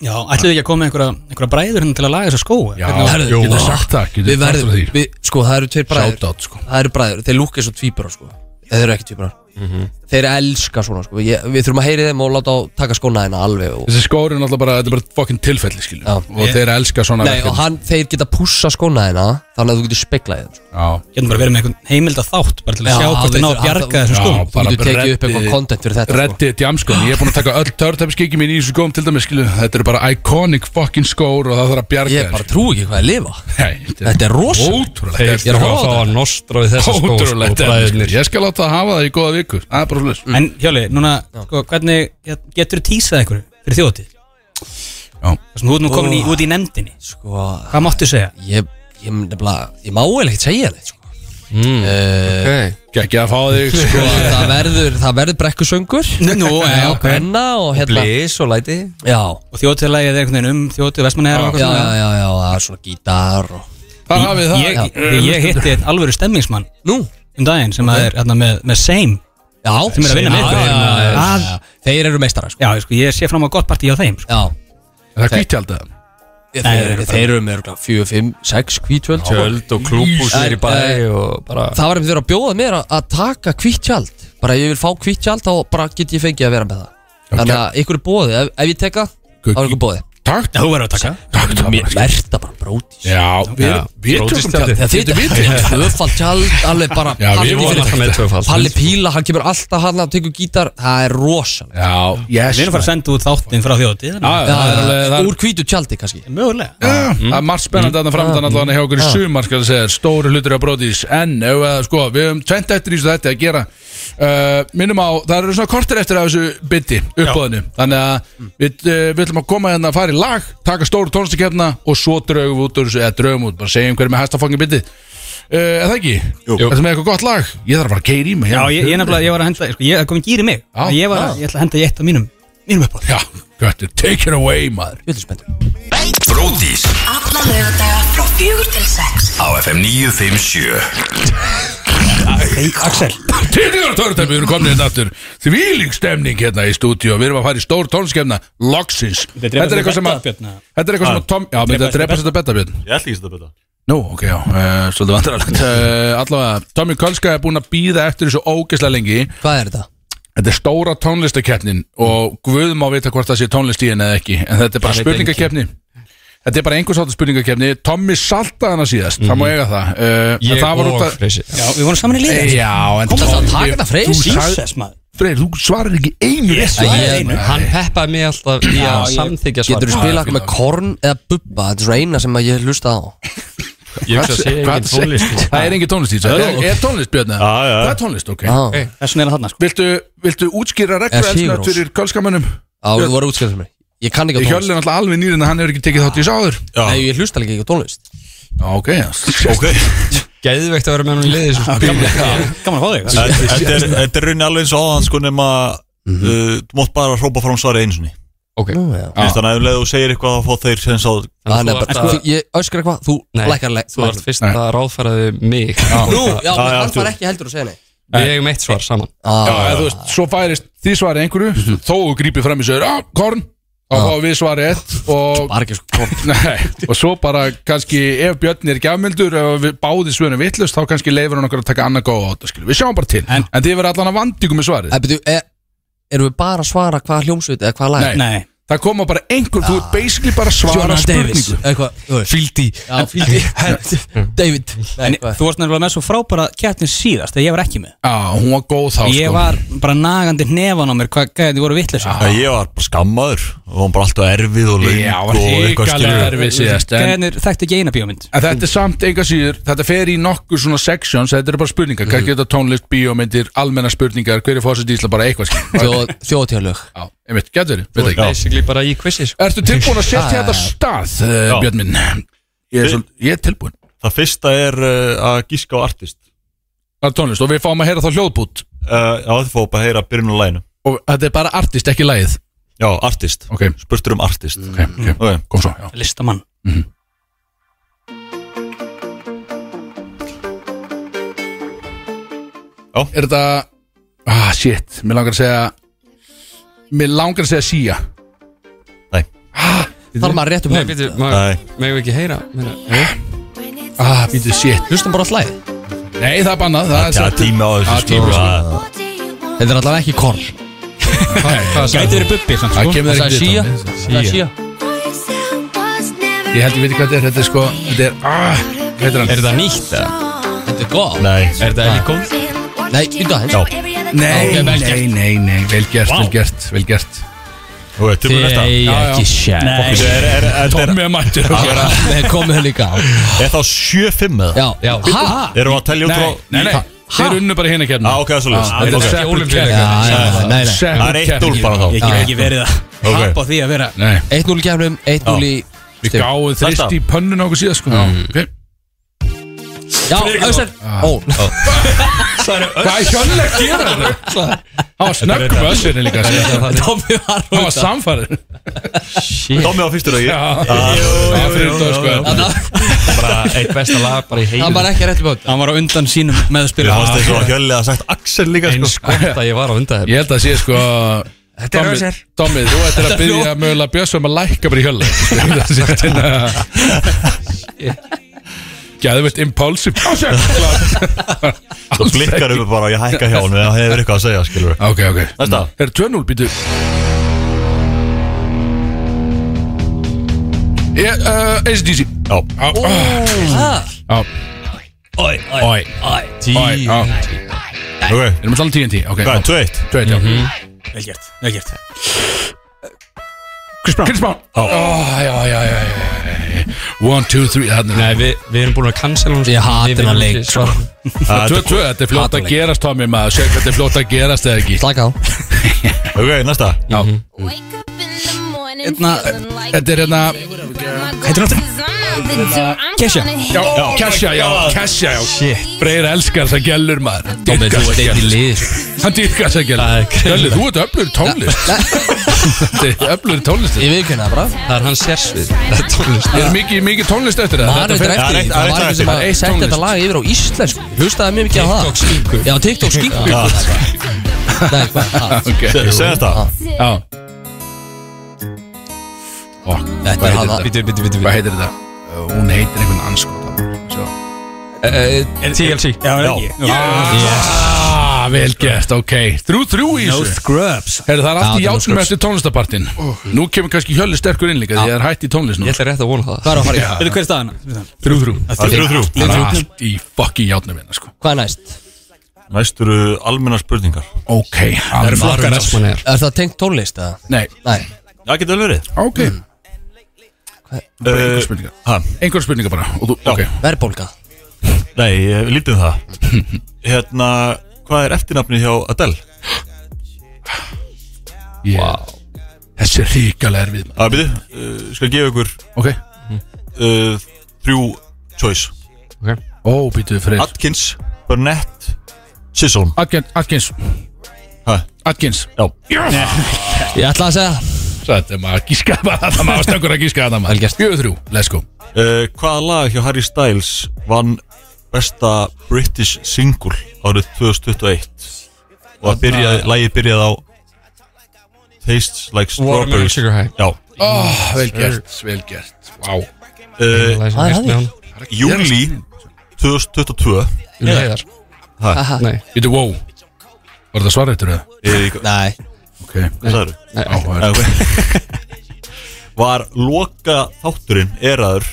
Já, ætlum við ekki að koma með einhverja, einhverja bræður hérna til að laga þessa skó Já, Hvernig- Herðu, getur vá. sagt það, getur Við sagt verðum, frá því. við, sko, það eru tveir bræður Shoutout, sko. Það eru bræður, þeir lúka eins og tvíburar, sko Þeir eru ekki tvíburar Mhm. Þeir elska svona, sko ég, Við þurfum að heyri þeim og láta á taka skóna hérna alveg og, Þessi skóri er náttúrulega bara, þetta er bara fokkin tilfelli skilur Já. Og þeir elska svona Nei, og verkefni. hann, þeir geta pússa skóna hérna Þannig að þú getur speklað þeim, sko Já, Getum bara verið með einhvern heimilda þátt bara til að Já, sjá hvort við þið ná að þurfum- bjarga hann- þessum já, skóm Þú bara getur tekið upp reddi- eitthvað content fyrir þetta, sko. Reddi djamskon, ég er búin að taka öll törtæpskiki mín í þessu skóm til dæmis skilur Þetta eru bara iconic fokkin skór og það þarf að bjarga Ég þeim, bara trú ekki hvað ég lifa Nei, Þetta er rosalegt. Ótrúlega Ég er að horfa á Það var nostra við þessa skó Ótrúlega sko, bræðirnir. Ég skal láta það hafa það í góða viku Það er bara slús Mm. En Hjáli, núna, sko, hvernig get- getur þú tísað einhverju fyrir þjótið? Já. Það sem þú ert nú komin í, út í nefndinni Sko, Hvað máttu segja? ég, ég, nefnilega, ég má eiginlega ekkert segja neitt, sko Mm, Eh, ok. Gekki að fá þig sko Það verður, það verður brekkusöngur Nú, já, ok Hvenna og hérna Blis og læti Já, Og þjótiðlægið er einhvern veginn um þjótið Vestmannegar og eitthvað já, já, svona já, já, það er svona gítar og Það hafið það Ég, ég, ég hitti eitt alvöru stemmingsmann Nú, um daginn sem að er hérna, með, með Same já Sem er að vinna með Já, ykkur. já, já, já, Að- já, já. Þeir eru meistara, sko Já, sko, ég sé fram á gott partí á þeim sko. Já, Það er kvítjaldið Ég- Nei, þeir, þeir eru þeir eru með örgulega 4, 5, 6 hvítvöld Tjöld og klúbhúsir Ís. í bæ og sko, bara Það var einmitt verið að bjóða mér að, að taka kvíttjald Bara ég vil fá kvíttjald þá bara get ég fengið að vera með það Þannig að ykkur er bóði, ef, ef ég teka þá er ykkur bóði Takk Já, þú verður að taka Mér verða bara brótis Já, við, Já, við brótist tökum tjaldið. tjaldið Þetta er vitið Tvöfald tjald Alveg bara Já, við vorum alveg fyrir- alltaf með tvöfald. Palli Píla, hann kemur alltaf hann að tekur gítar Það er rosalega Já, yes Við erum fara að senda út þáttinn frá þjótið þannig að- Já, það er alveg það er- Úr hvítu tjaldi kannski Mögulega Já, Það er margt Mm. spennandi að það framdann allan hjá okkur í sumar skal ég segja, stóru hlutur á brótis en ef að, sko, við höfum tvent eftir í þessu þetta að gera uh, minnum á, það eru svona kortir eftir af þessu bytti uppbóðinu, þannig að Mm. við, uh, við ætlum að koma hérna að fara í lag taka stóru tónstakefna og svo draugum við út úr þessu, eða draugum út, bara segjum hverju með hæstafangin bytti uh, eða það ekki? Jú. Þetta með eitthvað gott lag? Ég þarf að fara að keira í mig Já, hérna. ég, ég nefnilega, ég var að henda sko, Ég kom í gýri mig Já, Ég var að, já. ég ætla að henda í eitt af mínum Mínum uppáð Já, gott, take it away, maður Viltu spenntur Bróðís Alla lögadaga frá fjögur til sex á FM 957 Axel Tilgjörður törutæmi, við erum komin hérna aftur Þvílík stemning hérna í stúdíu Við erum að fara í stór tónskefna, loksins Þetta er eitthvað sem að Björn, eða? Þetta er eitthvað sem að Tom Já, myndi að drepa þetta betta björn Ég ætla ekki að þetta betta Nú, ok, já, uh, svolítið vandrarlegt uh, Allavega, Tommy Kölska er búin að býða eftir þessu ógeðslega lengi Hvað er þetta? Þetta er stóra tónlistakeppnin Og Guð má vita hvort það sé tónlist í henni eða ekki En þetta er bara Það veit spurningakeppni Þetta er bara einhvers áttu spurningakeppni Tommy saltaði hana síðast, það má eiga það uh, en Ég það var út og að- Freysi Já, við vorum saman í liði Já, en Komdu að taka þetta, Freyr. Þú sagði- Jesus, maður Freyr, þú svarar ekki einu rétt svara svari. einu. Nei. Hann peppaði mig alltaf í að samþykja svar Getur þú Já, spilað okkur fínt. með korn eða bubba Þetta er svona eina sem að ég hlusta á Ég hugsa að sé Hvað- engin tónlist sko. Það er engin tónlist í þessu. Er- Er tónlist, Björn? eða? Já, já. Það er tónlist, ok Á, Hey. Þessum er það þarna, sko Viltu, viltu útskýra Er sigur reglur ós. fyrir kölskamönnum? á, þú voru útskjöld fyrir mig Ég kann ekki á Ég tónlist hjöllin alltaf alveg nýrin að hann hefur ekki tekið þátt í sáður Nei, ég hlusta líka ekki á tónlist Já, ok Ok Geðveikt að vera með hann í liði sko. Gaman að fá þig sko. Þetta þetta er þetta er raunin alveg eins og áðan sko nema Mhm. uh, Þú mátt bara hrópa frá um svarið einu sinni Ok Nú, já. Þannig að ef um leið þú segir eitthvað þá fá þeir sem sá Þannig þú að ert bara- að- sko, Ég öskra eitthvað, þú Nei, lækkar le- Þú ert lækkar. fyrst að ráðfæraði mig Nú, já, Já, já, hann þú- far ekki heldur að segja neitt Ah. Við eigum eitt svar saman Já, Á, eða þú veist, svo færist því svarið einhverju Þó þú grípið fram í sögur, á, korn Þá Já. fáum við svarið ett og, bara ekki sko korn nei, og svo bara kannski ef Björn er gjafmildur og við báði svörum vittlust þá kannski leifur hann okkur að taka annað góða á þetta skilur. Við sjáum bara til, en, þið verður allan að vandíku með svarið Æ, byrju, er, erum við bara að svara hvað hljómsveit eða hvað lag? Nei. Nei, Það koma bara einhver, þú ert basically bara að svara spurningu eitthvað Fyldi Já, fylgdi David en Nei, þú varst nefnilega með svo frábæra keppni síðast þegar ég var ekki með Já, hún var góð þá Ég sko. var bara nagandi hnefan á mér hvað gæði þið voru vitleis að ég var bara skammaður og var bara alltaf erfið og löng Já, var og eitthvað hrikalega skilur erfið síðast en, Gæðinir þekktu ekki eina bíómynd en þetta er samt enga síður Þetta fer í nokkur svona sections Þetta eru bara spurningar, kannski þetta tónlist, bíómyndir Almenna spurningar, hver er fórsett í Ísla bara eitthvað skil. Þjóðtjóðlög Já, ég veit, gæti verið, veit ekki Basically bara í quizi sko. Ertu tilbúin að setja þetta af stað, uh, Já. Björn minn? Ég er, Þi- svol, ég er tilbúin Það fyrsta er uh, að gíska á artist Það er tónlist og við fáum að heyra þá hljóðbút uh, Já, þið fá bara að heyra byrjun á læginu Og þetta er bara artist, ekki lagið Já, artist Ok, Spurtur um artist ok, ok, Ok, kom svo já. Listamann Já. Er þetta Ah, shit, mér langar að segja Mér langar að segja síja Nei. Ah, Þarf maður rétt um Nei, hönd býtu, Nei. megum við ekki heyra Meina, jú. ah býtu, shit Hlustum bara alltaf Nei, það er bannað Það er Það er sagt tími á Já, þessu tími á sko þessu. að- Þetta er allavega ekki korn Gæti verið bubbi samt Það sko kemur Það þér sagði ekki síja við Það er síja Ég held ég veit ekki hvað þetta er Þetta er sko Þetta er ah, Hvað er Er hann? þetta nýtt? eða? Þetta er góð Nei Er þetta ekki góð? Nei, býta aðeins Nei, Ok, vel nei, nei, nei Vel gert, vel gert, vel gert Þú veit, tökum við næsta Nei, Já, já. ekki sjæl Þú veit, er- er- er- er- Tommi að mættur Nei, Nei, komið þau líka á Er þá 7-5 með það? Já, já Hæ? Erum við að telja út frá nei, nei Þeir unnu bara hérna kemna Já, ok, það er svolítið. Þetta er Ok. separate Ólympíuleikar. Já, keppni. já, já, nei, nei Separate Það er eitt úr keppni. bara þá Ég get ekki verið að Ok. hapa því að vera Nei, 1-0 í kefnum, 1-0 í við stig. gáðum þrist Þetta. í pönnun á okkur síðan sko Ok. Já, Össer Ó, Hvað er hjönlega að gera þetta? Það var snögg með össinni líka sko. Það Tommi var var samfærið Tommi á fyrstur og ég Það var fyrir dag sko Bara eitt besta lag bara í Það var heilu ekki rétt í bótt Hann var á undan sínum Mér meðspila fannst þess að hjöllega sagt Axel líka sko Eins gott að ég var á undan þér Ég held að sé sko Þetta er Össer. Tommi, þú ættir að byrja mögulega Björnsson að lækka bara í hjölla Gæðvöld impulsive Össer! Svo blikkar upp bara og ég hækka hjá hann Það hefur eitthvað að segja skilur Ok, ok Næsta Er 2-0 býtu Ég, uh, ACDC Já Á, á. Á, Oi, oi, Tí oi, á Ok Erum við um allir 10-10, ok Hvað er 2-1? 2-1, já Vel gert, vel gert Chris Brown Ó, já, já, já 1, 2, 3, þarna Nei, við, við erum búin að cancela hún sko. Ég hati Við vinnum þennan leik, ekki, sko. Ah, 2-2, þetta er fljótt að Hataleik. gerast Tommy maður Sér hvað þetta er fljótt að gerast eða ekki Slaka á Ok, næsta Já, Hérna, þetta er hérna heitir náttúrulega Kesha Já, Kesha, já, Kesha, já Shit Freyra elskar þess að gælur maður Tommi, þú ert einn í lið Hann dýrkar þess að Það er gælur grillt. Gælur, þú ert öflur í tónlist Þetta er öflur í tónlist Ég viðkynna það bara Það er hans sérsvið Það er tónlist Er mikið, mikið tónlist eftir það? Maður Þetta er fer- eftir því, Já, það var rétt einhver sem eftir. að Eitt setja þetta tónlist. lag yfir á íslensku Hlustaði mjög mikið á það Tók skinku Já, TikTok skingu Ah, Nei, hvað? ha, Ok, Segðast það já Ó, Þetta er hann að Bitu, bitu, bitu, Hvað heitir þetta? Uh, Hún heitir einhvern anskota bitu TLC Já, er ekki Ah, vel gert, ok Þrjú, þrjú í No þessu scrubs Herru, það er allt í Já, þetta er játsunum skrubs. eftir tónlistapartin Nú kemur kannski Hjölli sterkur inn líka Því að það er hætt í tónlist nú Ég ætla rétt að vona það Hvað er að fara í? Veitu hver er staðan? Þrjú, þrjú Það er 3-3 Það er allt í fucking játnum hérna, sko Hvað er næst? Næstur eru almennar spurningar Ok, það eru Marun Asman er Er það tengt tónlist eða? Nei, Nei Já, getur vel verið ok Mm. Bara Eh, einhver spurningar Hæ? Einhver spurningar bara Og þú, Já. ok Verðbólga Nei, eh, lítið um það Hérna, hvað er eftirnafni hjá Adele? yeah. Þessi er ríkalega erfið maður. Það byrju, Ah, eh, skal gefa ykkur Ok uh, þrjú choice Ó, býtuðu freyr Atkins, Burnett, Sisson Atkins, Atkins Hæ? Atkins Já Ég ætla að segja Þetta er maður að gíska bara Það maður stengur að gíska það maður Fjöðu þrjú, let's go uh, Hvaða lag hjá Harry Styles vann besta British single árið 2021 og að byrja, lagið byrjaði á Tastes Like Watermelon Strawberries Sugar High Já, oh, Vel gert, vel gert Vá uh, Það Hvað er er að því? hann júli 2022 Júliðar Hæ, Um Nei, Býtu, wow Var það svar eittur það? er ég, Nei Ok hvað sagður? Áhver Okay. Var loka þátturinn eraður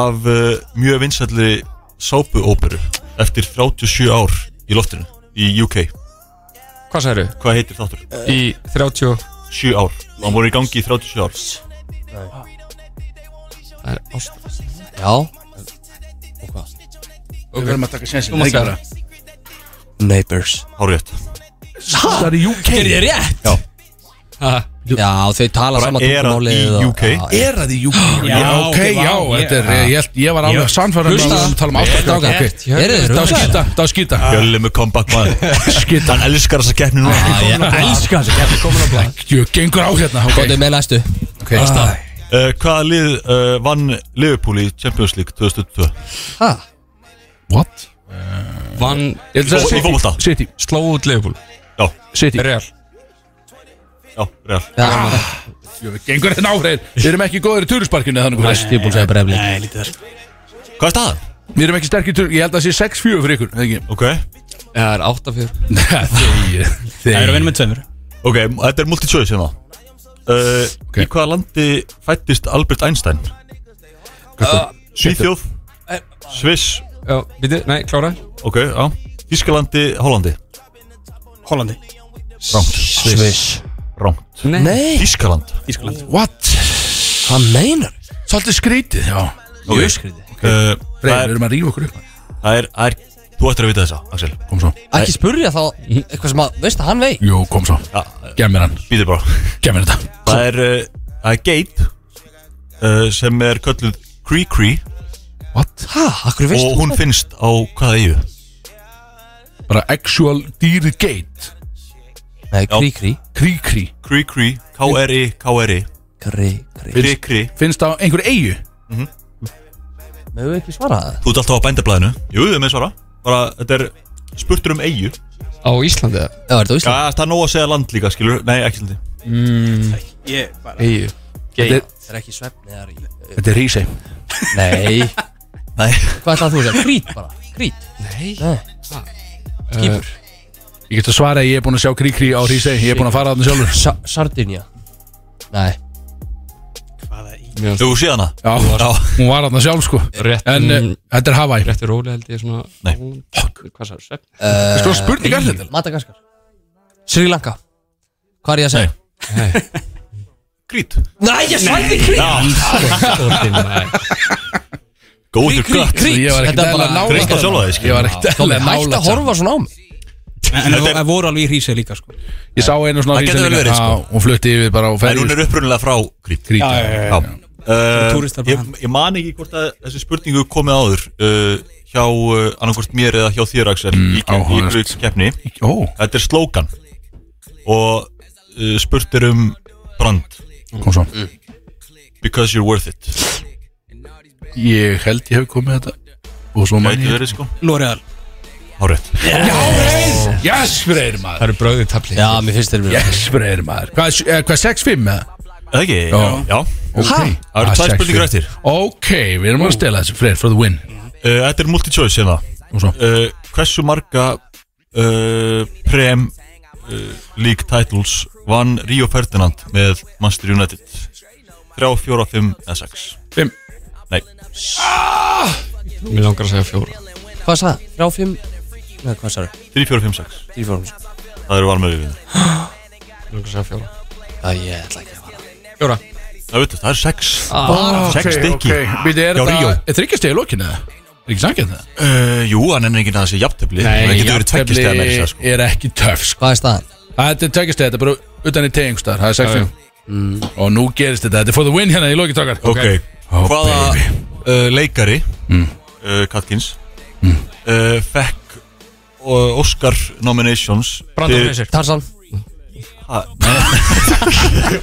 af uh, mjög vinsælli sápuóperu eftir 37 ár í loftinu í UK. hvað særu? Hvað heitir þátturinn? Í 30 7 ár. Hann voru í gangi í 37 ár. Það er ást Já Við verðum að taka sjensin Þú maður það Neighbors Hárétt. Það er UK Er ég rétt? Ha, Já, þau tala Bara saman er að tungumálið í og- UK. Já, já. Er það í UK? Já, ok, ok, já vá, Þetta er, ég, held- ég var alveg sannfæður Hlusta. að tala um Strákar, ástæðstráka okay. Eru þið Það var ruglaðir? skýta, það var skýta Jölli með comeback maður. Skitt. Hann elskar þessa keppni núna. Ég elska þessi kefni komin á blæk Jú, gengur á hérna Góðið Ok, með næstu ok Ah, Uh, hvaða lið uh, vann Liverpool í Champions League 2002? Hæ? What? vann Ég held að Í segja fótbolta. City sló út Leifbúl Já, City Real já, real Jú, Gengur þetta áhrif Við erum ekki góðir í turisparkinu Þannig hvað Ég er búin að segja brefli Nei, lítið þar Hvað er staðan? Við erum ekki sterkir turisparkinu Ég held að það sé 6-4 fyrir ykkur eða Ok, Já, það er 8-4 ekki? Það er að Þeir vinna með tveimur ok, þetta er multi-choice hérna uh, Í hvaða landi fættist Albert Einstein? Uh, Svíþjóð Sviss Já, býttu, nei, klára Ok, já Ískalandi, Hollandi Hollandi Rangt, Sviss rangt Nei, Nei, Ískaland Ískaland What? hvað meinar? Svolítið skrítið Já Ok, uh, Freyr, það, við er, erum að rífa okkur upp það, er, það er Þú ættir að vita þessa, Axel Kom svo Ekki spurja þá eitthvað sem að, veist að hann veit Jú, kom svo Já, Gef mér hann býtir bara Gef mér þetta Það er, uh, það er geit uh, sem er kölluð Kree Kree What? Hæ, akkur veist og hún finnst á hvaða eigu Bara actual dýri gate Nei, krí, krí, Krí krí Kree Kree, K-R-I, K-R-I krí, krí Kree Kree Finnst það á einhverju eigu Mögum við ekki svara það? Þú ert alltaf á bændablaðinu Jú, þau með svara bara, Þetta er spurtur um eigu Já, á Íslandi eða? Já, er þetta á Íslandi? það er nóg að segja land líka, skilur Nei, ekki landi Ég bara Eyju Þetta Geit er- Það er ekki svefn eða í Þetta er rísi Nei Nei, Hvað ætlaði þú að segja? Krít bara Krít Nei Nei Skipur Ég get að svara að ég er búin að sjá krí krí á rísi Ég er búin að fara þarna sjálfur Sa Sardinja Nei þú sé hana Já, Já, hún var þarna sjálf sko Rétt En eh, mm, þetta er Hawaii Rétt er róli held ég svona Nei. Fuck Hvað sagði svepp? Eh, Sko spurning er þetta Madagaskar Sri Lanka Hvað er ég að segja? grít Nei, ég svæði krít Góður Krít, gött um krít Ég var ekkert Þetta er eðlilega bara- nálægt. Treysta á sjálfa þig, skilur. Ég var ekkert Þú er eðlilega hægt að nálægt horfa svona á mig En Þetta er- það voru alveg í hrísið líka sko Já, Ég sá einu svona Það rísi getur vel verið, líka sko. Já, Hún flutti yfir bara og En hún ferði er upprunnilega frá grít Krí já, já, já. Já. Uh, túristar bara ég, ég man ekki hvort að þessi spurningu komið áður uh, hjá uh, annarkvort mér eða hjá þér Axel Mm, í, ke- í áhugavert. blöð keppni Ó, þetta er slókan og uh, spurt er um brand kom svo Mm. because you're worth it Ég held ég hef komið með þetta Og svo man gæti ég verið sko L'Oreal hárétt Yes, Freyr maður eru bröðið tabli Já, mér finnst þeir verið Yes, Freyr maður Hvað, eh, hvað 6-5 eða? eða ekki já, já. Okay. Það eru Ah, tvær sex, spurningar fimm. eftir. Ok, við erum að stela þessu Freyr, for the win Uh, þetta er multi-choice hérna Og svo uh, hversu marga uh, prem uh, league titles vann Rio Ferdinand með Manchester United 3, 4, 5 eða 6 Fimm. nei Mér langar að segja fjóra Hvað sagði? það? Þrjá, fimm Nei, hvað sagði? 3, 4, 5, 6 Þrjú, fjórum Það eru valmöðu við Mér langar að segja fjóra Það ég ætla ekki að fara Fjóra Það veitur, það eru 6 Sex Sex stykki. Býtti, er Já, Ríó. þetta þryggjast í lokin eða? Er ekki sangið það? uh, Jú, hann er enginn að það sé jafntefli Það getur verið tveggjast eða meira sko. er ekki töff sko. Hvað er staðan? Þetta er tveggjast þetta er bara utan í tegingstar Það er 6-5 Og nú gerist þetta, þetta er for the win hérna í lokin tókar Mm. Ok, Oh, hvaða baby. Mm. uh, leikari uh, Katkins uh, fekk uh, Oscar nominations Brandon til- Fraser Tarzan Ha,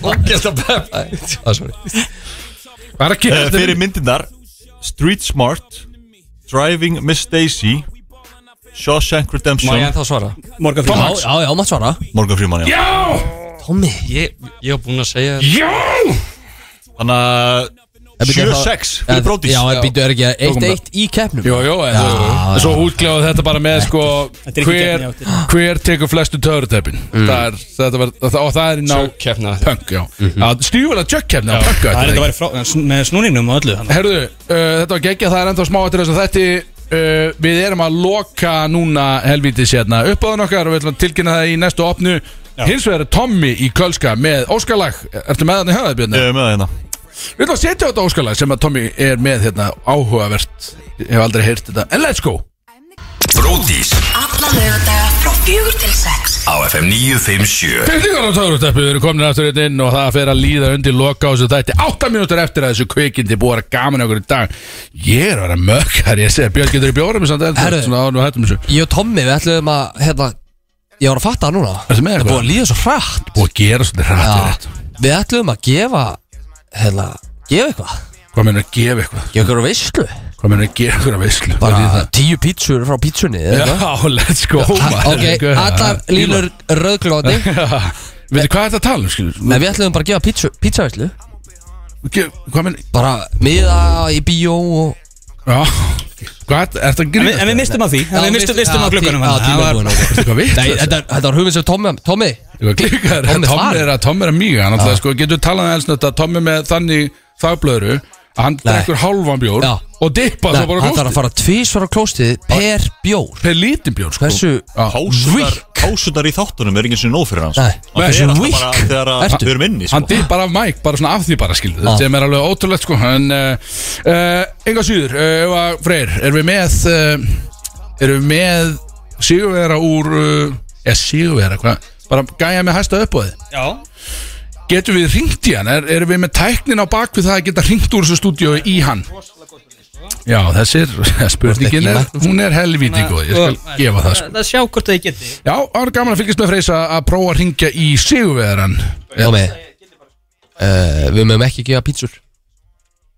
Ógjast að bepp Það er sorry Hvað er að uh, gera fyrir myndindar Street Smart Driving Miss Daisy Shawshank Má Redemption ég ennþá svara? Morgan Já, Freeman já, já, maður svara Morgan Freeman já. Tommy Ég, ég var búinn að segja Já! Þannig að En býtu, er það- 7-6 fyrir Brodís Já, en býtu er ekki Tókum bara. 1-1 í keppnum Jó, jó, en þú- en svo útgláðu þetta bara með sko er ekki hver, gegn í áttina. hver tekur flestu törutepin mm. er, þetta var, og það er í ná Kefna punk, já mm. Stjúvel að jökkefni á punk Mhm. Það er þetta að vera frá sn- með snúningnum og öllu þannig. Herðu, uh, þetta var geggja, það er ennþá smá eftir þess að þetta uh, Við erum að loka núna helvítið sérna uppáðan okkar og við ætlum að tilkynna það í næstu opnu Hins vegar er Tommy í Kölska með Óskalag Ertu með hann í höfða, Björn? Ég er með það hérna Við ætlum að setja á þetta Óskalag sem að Tommy er með hérna áhugavert Ég hef aldrei heyrt þetta, en let's go Bródís Alla lögadaga frá fjögur til sex á FM 957 Fyrtingar á Töðrúttöppu eru komin aftur hérna inn og það fer að líða undir loka á þessu þætti átta mínútur eftir að þessu kvikindi er búið að vera gaman í okkur í dag Ég er að vera mökkar, ég segi Björn getur í bjórum samt enn Herðu. svona án og hættum þessu Ég og Tommy, við ætlum að, hérna Ég var að fatta það núna Ertu með Það er eitthvað? búið að líða svo hrætt Búið að gera svona rætt og Já, rétt við ætlum að gefa hérna, gefa eitthvað Hvað meina að gefa eitthvað? gefa eitthvað veislu Hvað Það munum ekki einhverja veislu Bara tíu pítsur frá pítsunni eða eitthvað? Já, let's go maður. Ok, Guð, allar ja, línur rauðglóðni Veitu, hvað er þetta að tala um, skilur? Nei, við ætlum bara að gefa pítsu, pítsavæslu Ge- Hvað menn, Bara miða í bíó og já Hvað, er þetta að En grína? við, en við mistum af því En við mistum, mistum af glöggunum Já, Það tíma var- búin ok. Þetta er Nei, vitt Þetta þetta var hugmynd sem Tommi Tommi, Þú var klikkar Tommi Tommi farinn. er að Tommi er að míga Hann alltaf sko getur talað aðeins um þetta Tommi er með þannig þagblöðru að hann drekkur hálfan bjór Já. og dippa Nei, svo bara hann þarf að klósti fara tvísvar á klóstið per bjór Per lítin bjór sko Hversu Já. vík Pásunar í þáttunum er enginn sem nóg fyrir sko. hans Nei, Það hversu er alltaf vík bara þegar að ertu? við erum inni sko. Hann dippar af mæk bara svona af því bara skilu Já. ah. sem er alveg ótrúlegt sko en uh, uh, enga síður uh, Eva Freyr erum við með uh, erum við með Sigurvera úr uh, eða Sigurvera hvað bara gæja með hæsta uppóði Já getum við ringt í hann er, erum við með tæknin á bakvið það að geta ringt úr þessu stúdíu í hann já þessi er spurningin er, hún er helvíti góð ég skal gefa það sko Það sjá hvort það ég geti já, það er gaman að fylgjast með Freysa að prófa að ringja í Sigurveran Tommi eh, Við mögum ekki gefa pítsur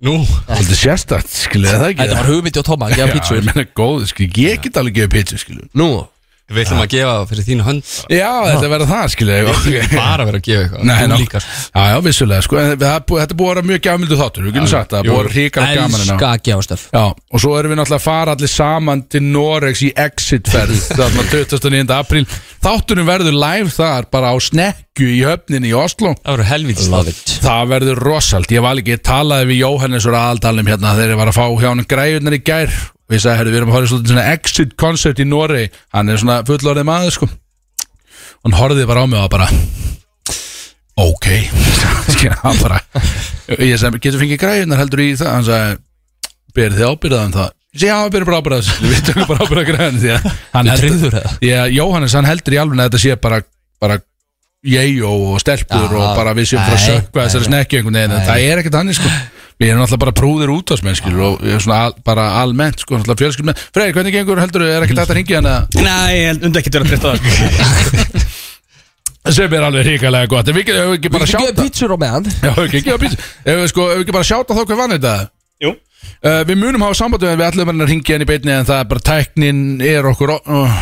Nú, svolítið sérstakt skilja það ekki Þetta var hugmyndi á Tomma að Já, gefa ég pítsur meina góð, skil, ég get alveg gefið pítsu, skilju Nú, við ætlum að gefa fyrir þín hönd Já, þetta verður það, skilju okay. Bara vera að gefa eitthvað Nei, um Þú ná- líka, sko. Já, já, vissulega, sko en það er búið- Þetta er búið að vera mjög gjafmildu þáttur, við getum sagt það Það er búið að vera ríkara gaman hérna. en á elska að gefa stöf Já, og svo erum við náttúrulega að fara allir saman til Norex í Exit-ferð þarna 29. apríl Þáttunum verður live þar, bara á snekju í höfninni í Oslo Það verður helvítið Love it Það verður rosalt, ég var ekki, ég talaði við Jóhannes og aðaldalum hérna þegar ég var að fá hjá hann græðunar í gær og ég sagði, herru, við erum að horfa í svolítið svona exit concert í Norei, hann er svona fullorðið maður sko hann horfði bara á mig og var bara ok Skilja, hann bara, ég sagði, getur fengið græðunar heldur í það, hann sagði berið þið ábyrðað um það Ég segi, já, við berum bara ábyrðað þessu." við tökum bara ábyrðað græðunar því að hann Þú heldur, tryggður það Já, Jóhannes, hann heldur í alveg að þetta sé bara, bara ég og stelpur Já, og bara við séum frá að nei, sökka nei, þessari nei. snekki einhvern veginn, en það er ekkert annir sko Við erum alltaf bara prúðir út af smennskilur og ég er svona al, bara almennt sko, alltaf fjölskyld með Freyr, hvernig gengur heldur, er ekkert hægt að ringja hann að Nei, ég held undir ekki að vera treyta það sko. sem er alveg hrikalega gott, en við getum ekki bara Við getum sjáta gefa pítsur á meðan Já, ekki, ekki, ekki, ef við sko, ef við ekki bara sjáta þá hver vann þetta Jú. Uh, við munum hafa samband við en við ætlum að ringja henni í beinni en það er bara tæknin er okkur og uh,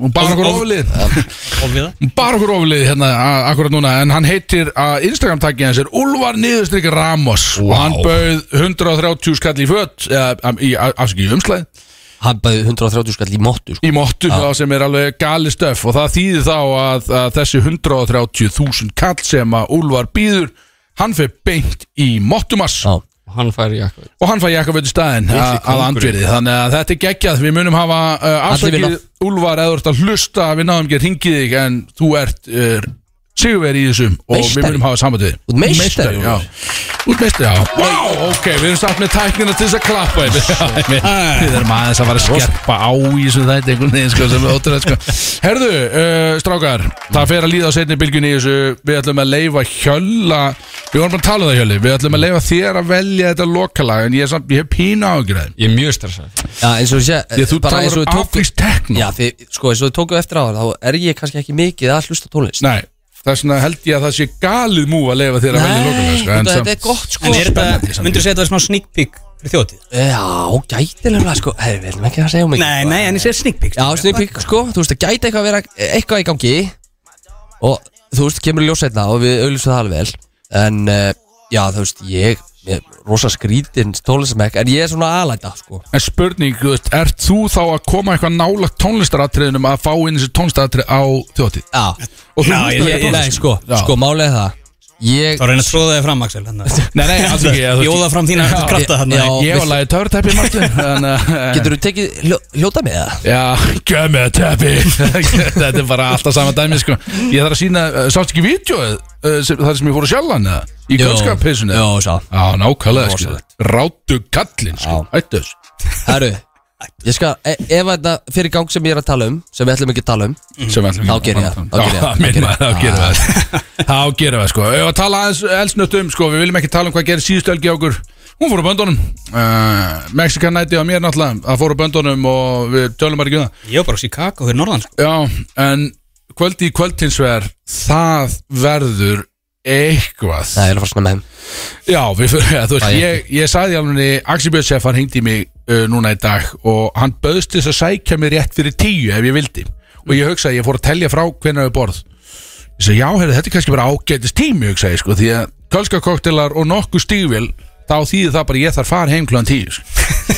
hún bara okkur Of- of- oflið Og við það bara okkur oflið hérna a- akkurat núna en hann heitir að Instagram takkið hans er Ulvar Niðurstrik Ramos og hann bauð 130 skall í fött afsakið í umslæð Hann bæði 130 skall í móttu sko. í mottu þá sem er alveg gali stöf og það þýðir þá að, að þessi 130.000 kall sem að Ulvar býður hann fer beint í mottumass Já. Og hann fær í eitthvað og hann fæ Jakoböld staðinn að að andverði þannig að þetta er geggjað, við munum hafa uh, Allir afsakið vinna. Úlfar eða þú ert að hlusta, við náðum ekki að ringið þig en þú ert uh, sigurveri í þessum og Meistari. við munum hafa samband við þig. Þú ert meistari, já Út meistari, já Vá, ok, við erum samt með tæknina til þess að klappa einmitt. Já, einmitt. Við erum aðeins að fara að skerpa á í þessum þætti einhvern veginn sko sem er ótrúlega sko Herðu, uh, strákar, það fer að líða á setni bylgjunni í þessu Við ætlum að leifa hjölla Við vorum bara að tala um það hjöli Við ætlum að leifa þér að velja þetta lokalag En ég, er samt, ég hef pína á ykkur þeim Ég er mjög stressað Já, eins og sé Ég þú bara talar eins og við um tókum- aflýst tekno Já, því, sko, eins og þú tókum eftir á það Þá er ég kannski ekki mikið að hlusta á tónlist Nei, þess vegna held ég að það sé galið mú að leifa þér að velja lokalag sko, þetta samt- er gott sko En er Spennandi þetta, samt. myndur þú segja að þetta var smá sneak peek fyrir þjótið? Já, gætilega sko Herri, við ætlum ekki að segja um mikið Nei, nei, en ég segja sneak peek Já, snýpík sko, þú veist, það gæti eitthvað að vera eitthvað í gangi Og þú veist, kemur ljós hérna og við auðlýsum það alveg vel En, uh, já, þú veist, ég, ég er Rosa skrítinn tónlistamæk En ég er svona aðlæta sko En spurning, þú veist, ert þú þá að koma eitthvað nálagt tónlistaratriðinum að fá inn þessi tónlistaratrið á þjótið? Já, Og þú Já, hlustar ég- ekki á ég- tónlist? nei, sko, Já. sko, málið er það Ég Þá reyna að tróða þig fram, Axel þannig að- Nei, nei, alls ekki ég- þú- Bjóða fram þína krafta þarna Já, Ég var lagið törteppi, Martin Þannig að Getur þú tekið hljó, hljóta með það? Já, gef mig að teppi Þetta er bara alltaf sama dæmi sko. Ég þarf að sína, sátt ekki vídjóið Það sem ég fór að sjálfa hann eða? Í kvöldskappissunni Jó, sá Já, nákvæmlega sko. Ráttu kallinn sko. Ættu þess Herru, ég skal, e ef þetta fyrir gang sem ég er að tala um Sem við ætlum ekki að tala um Sem ætlum Þá ekki geri ég að það, fara þá fram. geri ég það, Já, minn þá geri ég maður, Þá gerum við það. Þá gerum við sko. Ef að tala aðeins elsnött um sko, Við viljum ekki tala um hvað gerir síðustu helgi á okkur Hún fór á böndunum uh, Mexikan næti á mér náttúrulega Það fór á böndunum og við tölum bara ekki um það Ég var bara á Chicago fyrir norðan sko. Já, en kvöldi í kvöldtinsver það verður eitthvað Nei, ég er að fara svona með þeim Já, við fyrir, ja, þú veist, Það er ég, ég sagði alveg Axi Björnsef, hann hingdi mig uh, núna í dag og hann böðst til þess að sækja mig rétt fyrir tíu ef ég vildi og ég hugsaði, ég fór að telja frá hvenær við borð ég segi, já, heyrðu, þetta er kannski bara ágætist tími hugsaði, sko, því að kölskakoktelar og nokkuð stígvél, þá þýðir það bara að ég þarf fara heim klúan tíu sko.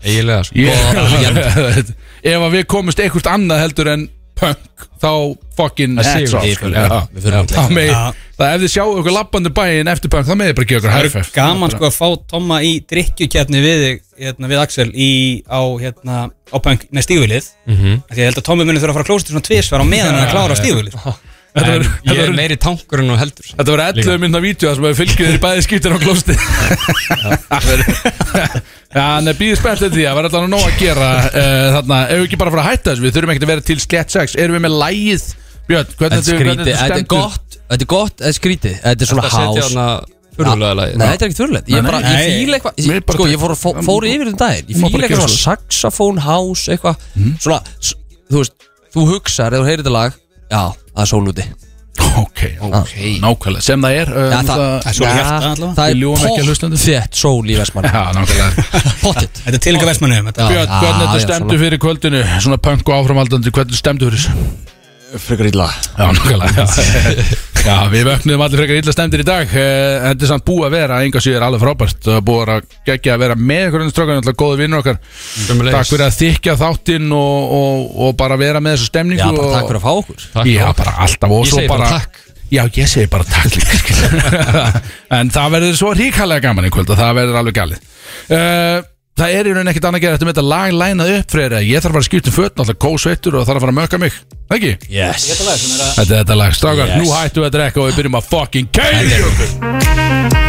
eiginlega sko. ég, ef að við komumst einhvert annað heldur en punk þá fucking Það hats sigur off við, sko. sko. Já. Við þurfum Já, þá megi- Já. það ef þið sjáu okkur lappandi bæinn eftir punk þá meði bara að gefa okkur Það hærfæf er gaman sko að fá Tomma í drikkjukjarni við, þig, hérna, við Axel í, á, hérna, á punk, nei, stígvilið mm -hmm. Því að ég held að Tommi muni þurfa að fara að klósa til svona tvisvar á meðan hann er að klára sko. á stígvilið þetta en var- þetta ég er var- meiri tankur en þú heldur sko. þetta var 11 minna vídeo þar sem við fylgjum þér í bæði skiptir á klósti Já, en býðið spennt eftir því að verða alltaf nóg að gera uh, þarna, ef við ekki bara fara að hætta þessu við þurfum ekkert að vera til slett sex, erum við með lægið Björn, hvernig Þetta er skrítið, hvernig þetta er stendur? gott Þetta er gott, þetta er skrítið Þetta er svona þetta setja hás hann að fyrirlega lagi Nei, þetta er ekkert fyrirlegt Ég, Nei, bara, nei. ég fíla Mér er eitthvað bara Sko, til- ég fór, fór, fór yfir um daginn Ég Má bara fíla gera eitthvað svona saxofón, hás, eitthvað Mhm. Svona, s- þú veist Þú hugsar, ef þú heyrir þetta lag Já, það er sólúti Um Ok, ok, nákvæmlega, sem það er um, Já, það, það, sól í já, hjarta allavega. það Við ljúgum ekki að er hlustendum. pott þett sól í Vestmann Já, nákvæmlega Pottitt Þetta er tilinka versmannum Björn, hvernig þetta stemdu fyrir kvöldinu Svona punk og áframaldandi, hvernig stemdu fyrir þessu? Frekar illa Já, nákvæmlega já. já, við vöknum allir frekar illa stemdir í dag Eh, Þetta er samt búið að vera, enga síður alveg frábært og Búið að gegja að vera með ykkur undir strókan Alltaf góði vinnur okkar Takk fyrir að þykja þáttinn og, og, og bara vera með þessu stemningu Já, bara og- takk fyrir að fá okkur Já, bara alltaf og Ég svo segi bara takk. Já, ég segi bara takk líka, skilur. En það verður svo ríkalega gaman í kvöld og það verður alveg galið uh, Það er í rauninni ekkert annað að gera Þetta með þetta lag lænað upp fyrir að ég þarf að fara að skipta um fötn Alltaf kósveittur og þarf að fara að möka mig Það Ekki? Yes Þetta er þetta lag Strákar, nú hættu að drekka og við byrjum að fucking keiri okkur Yes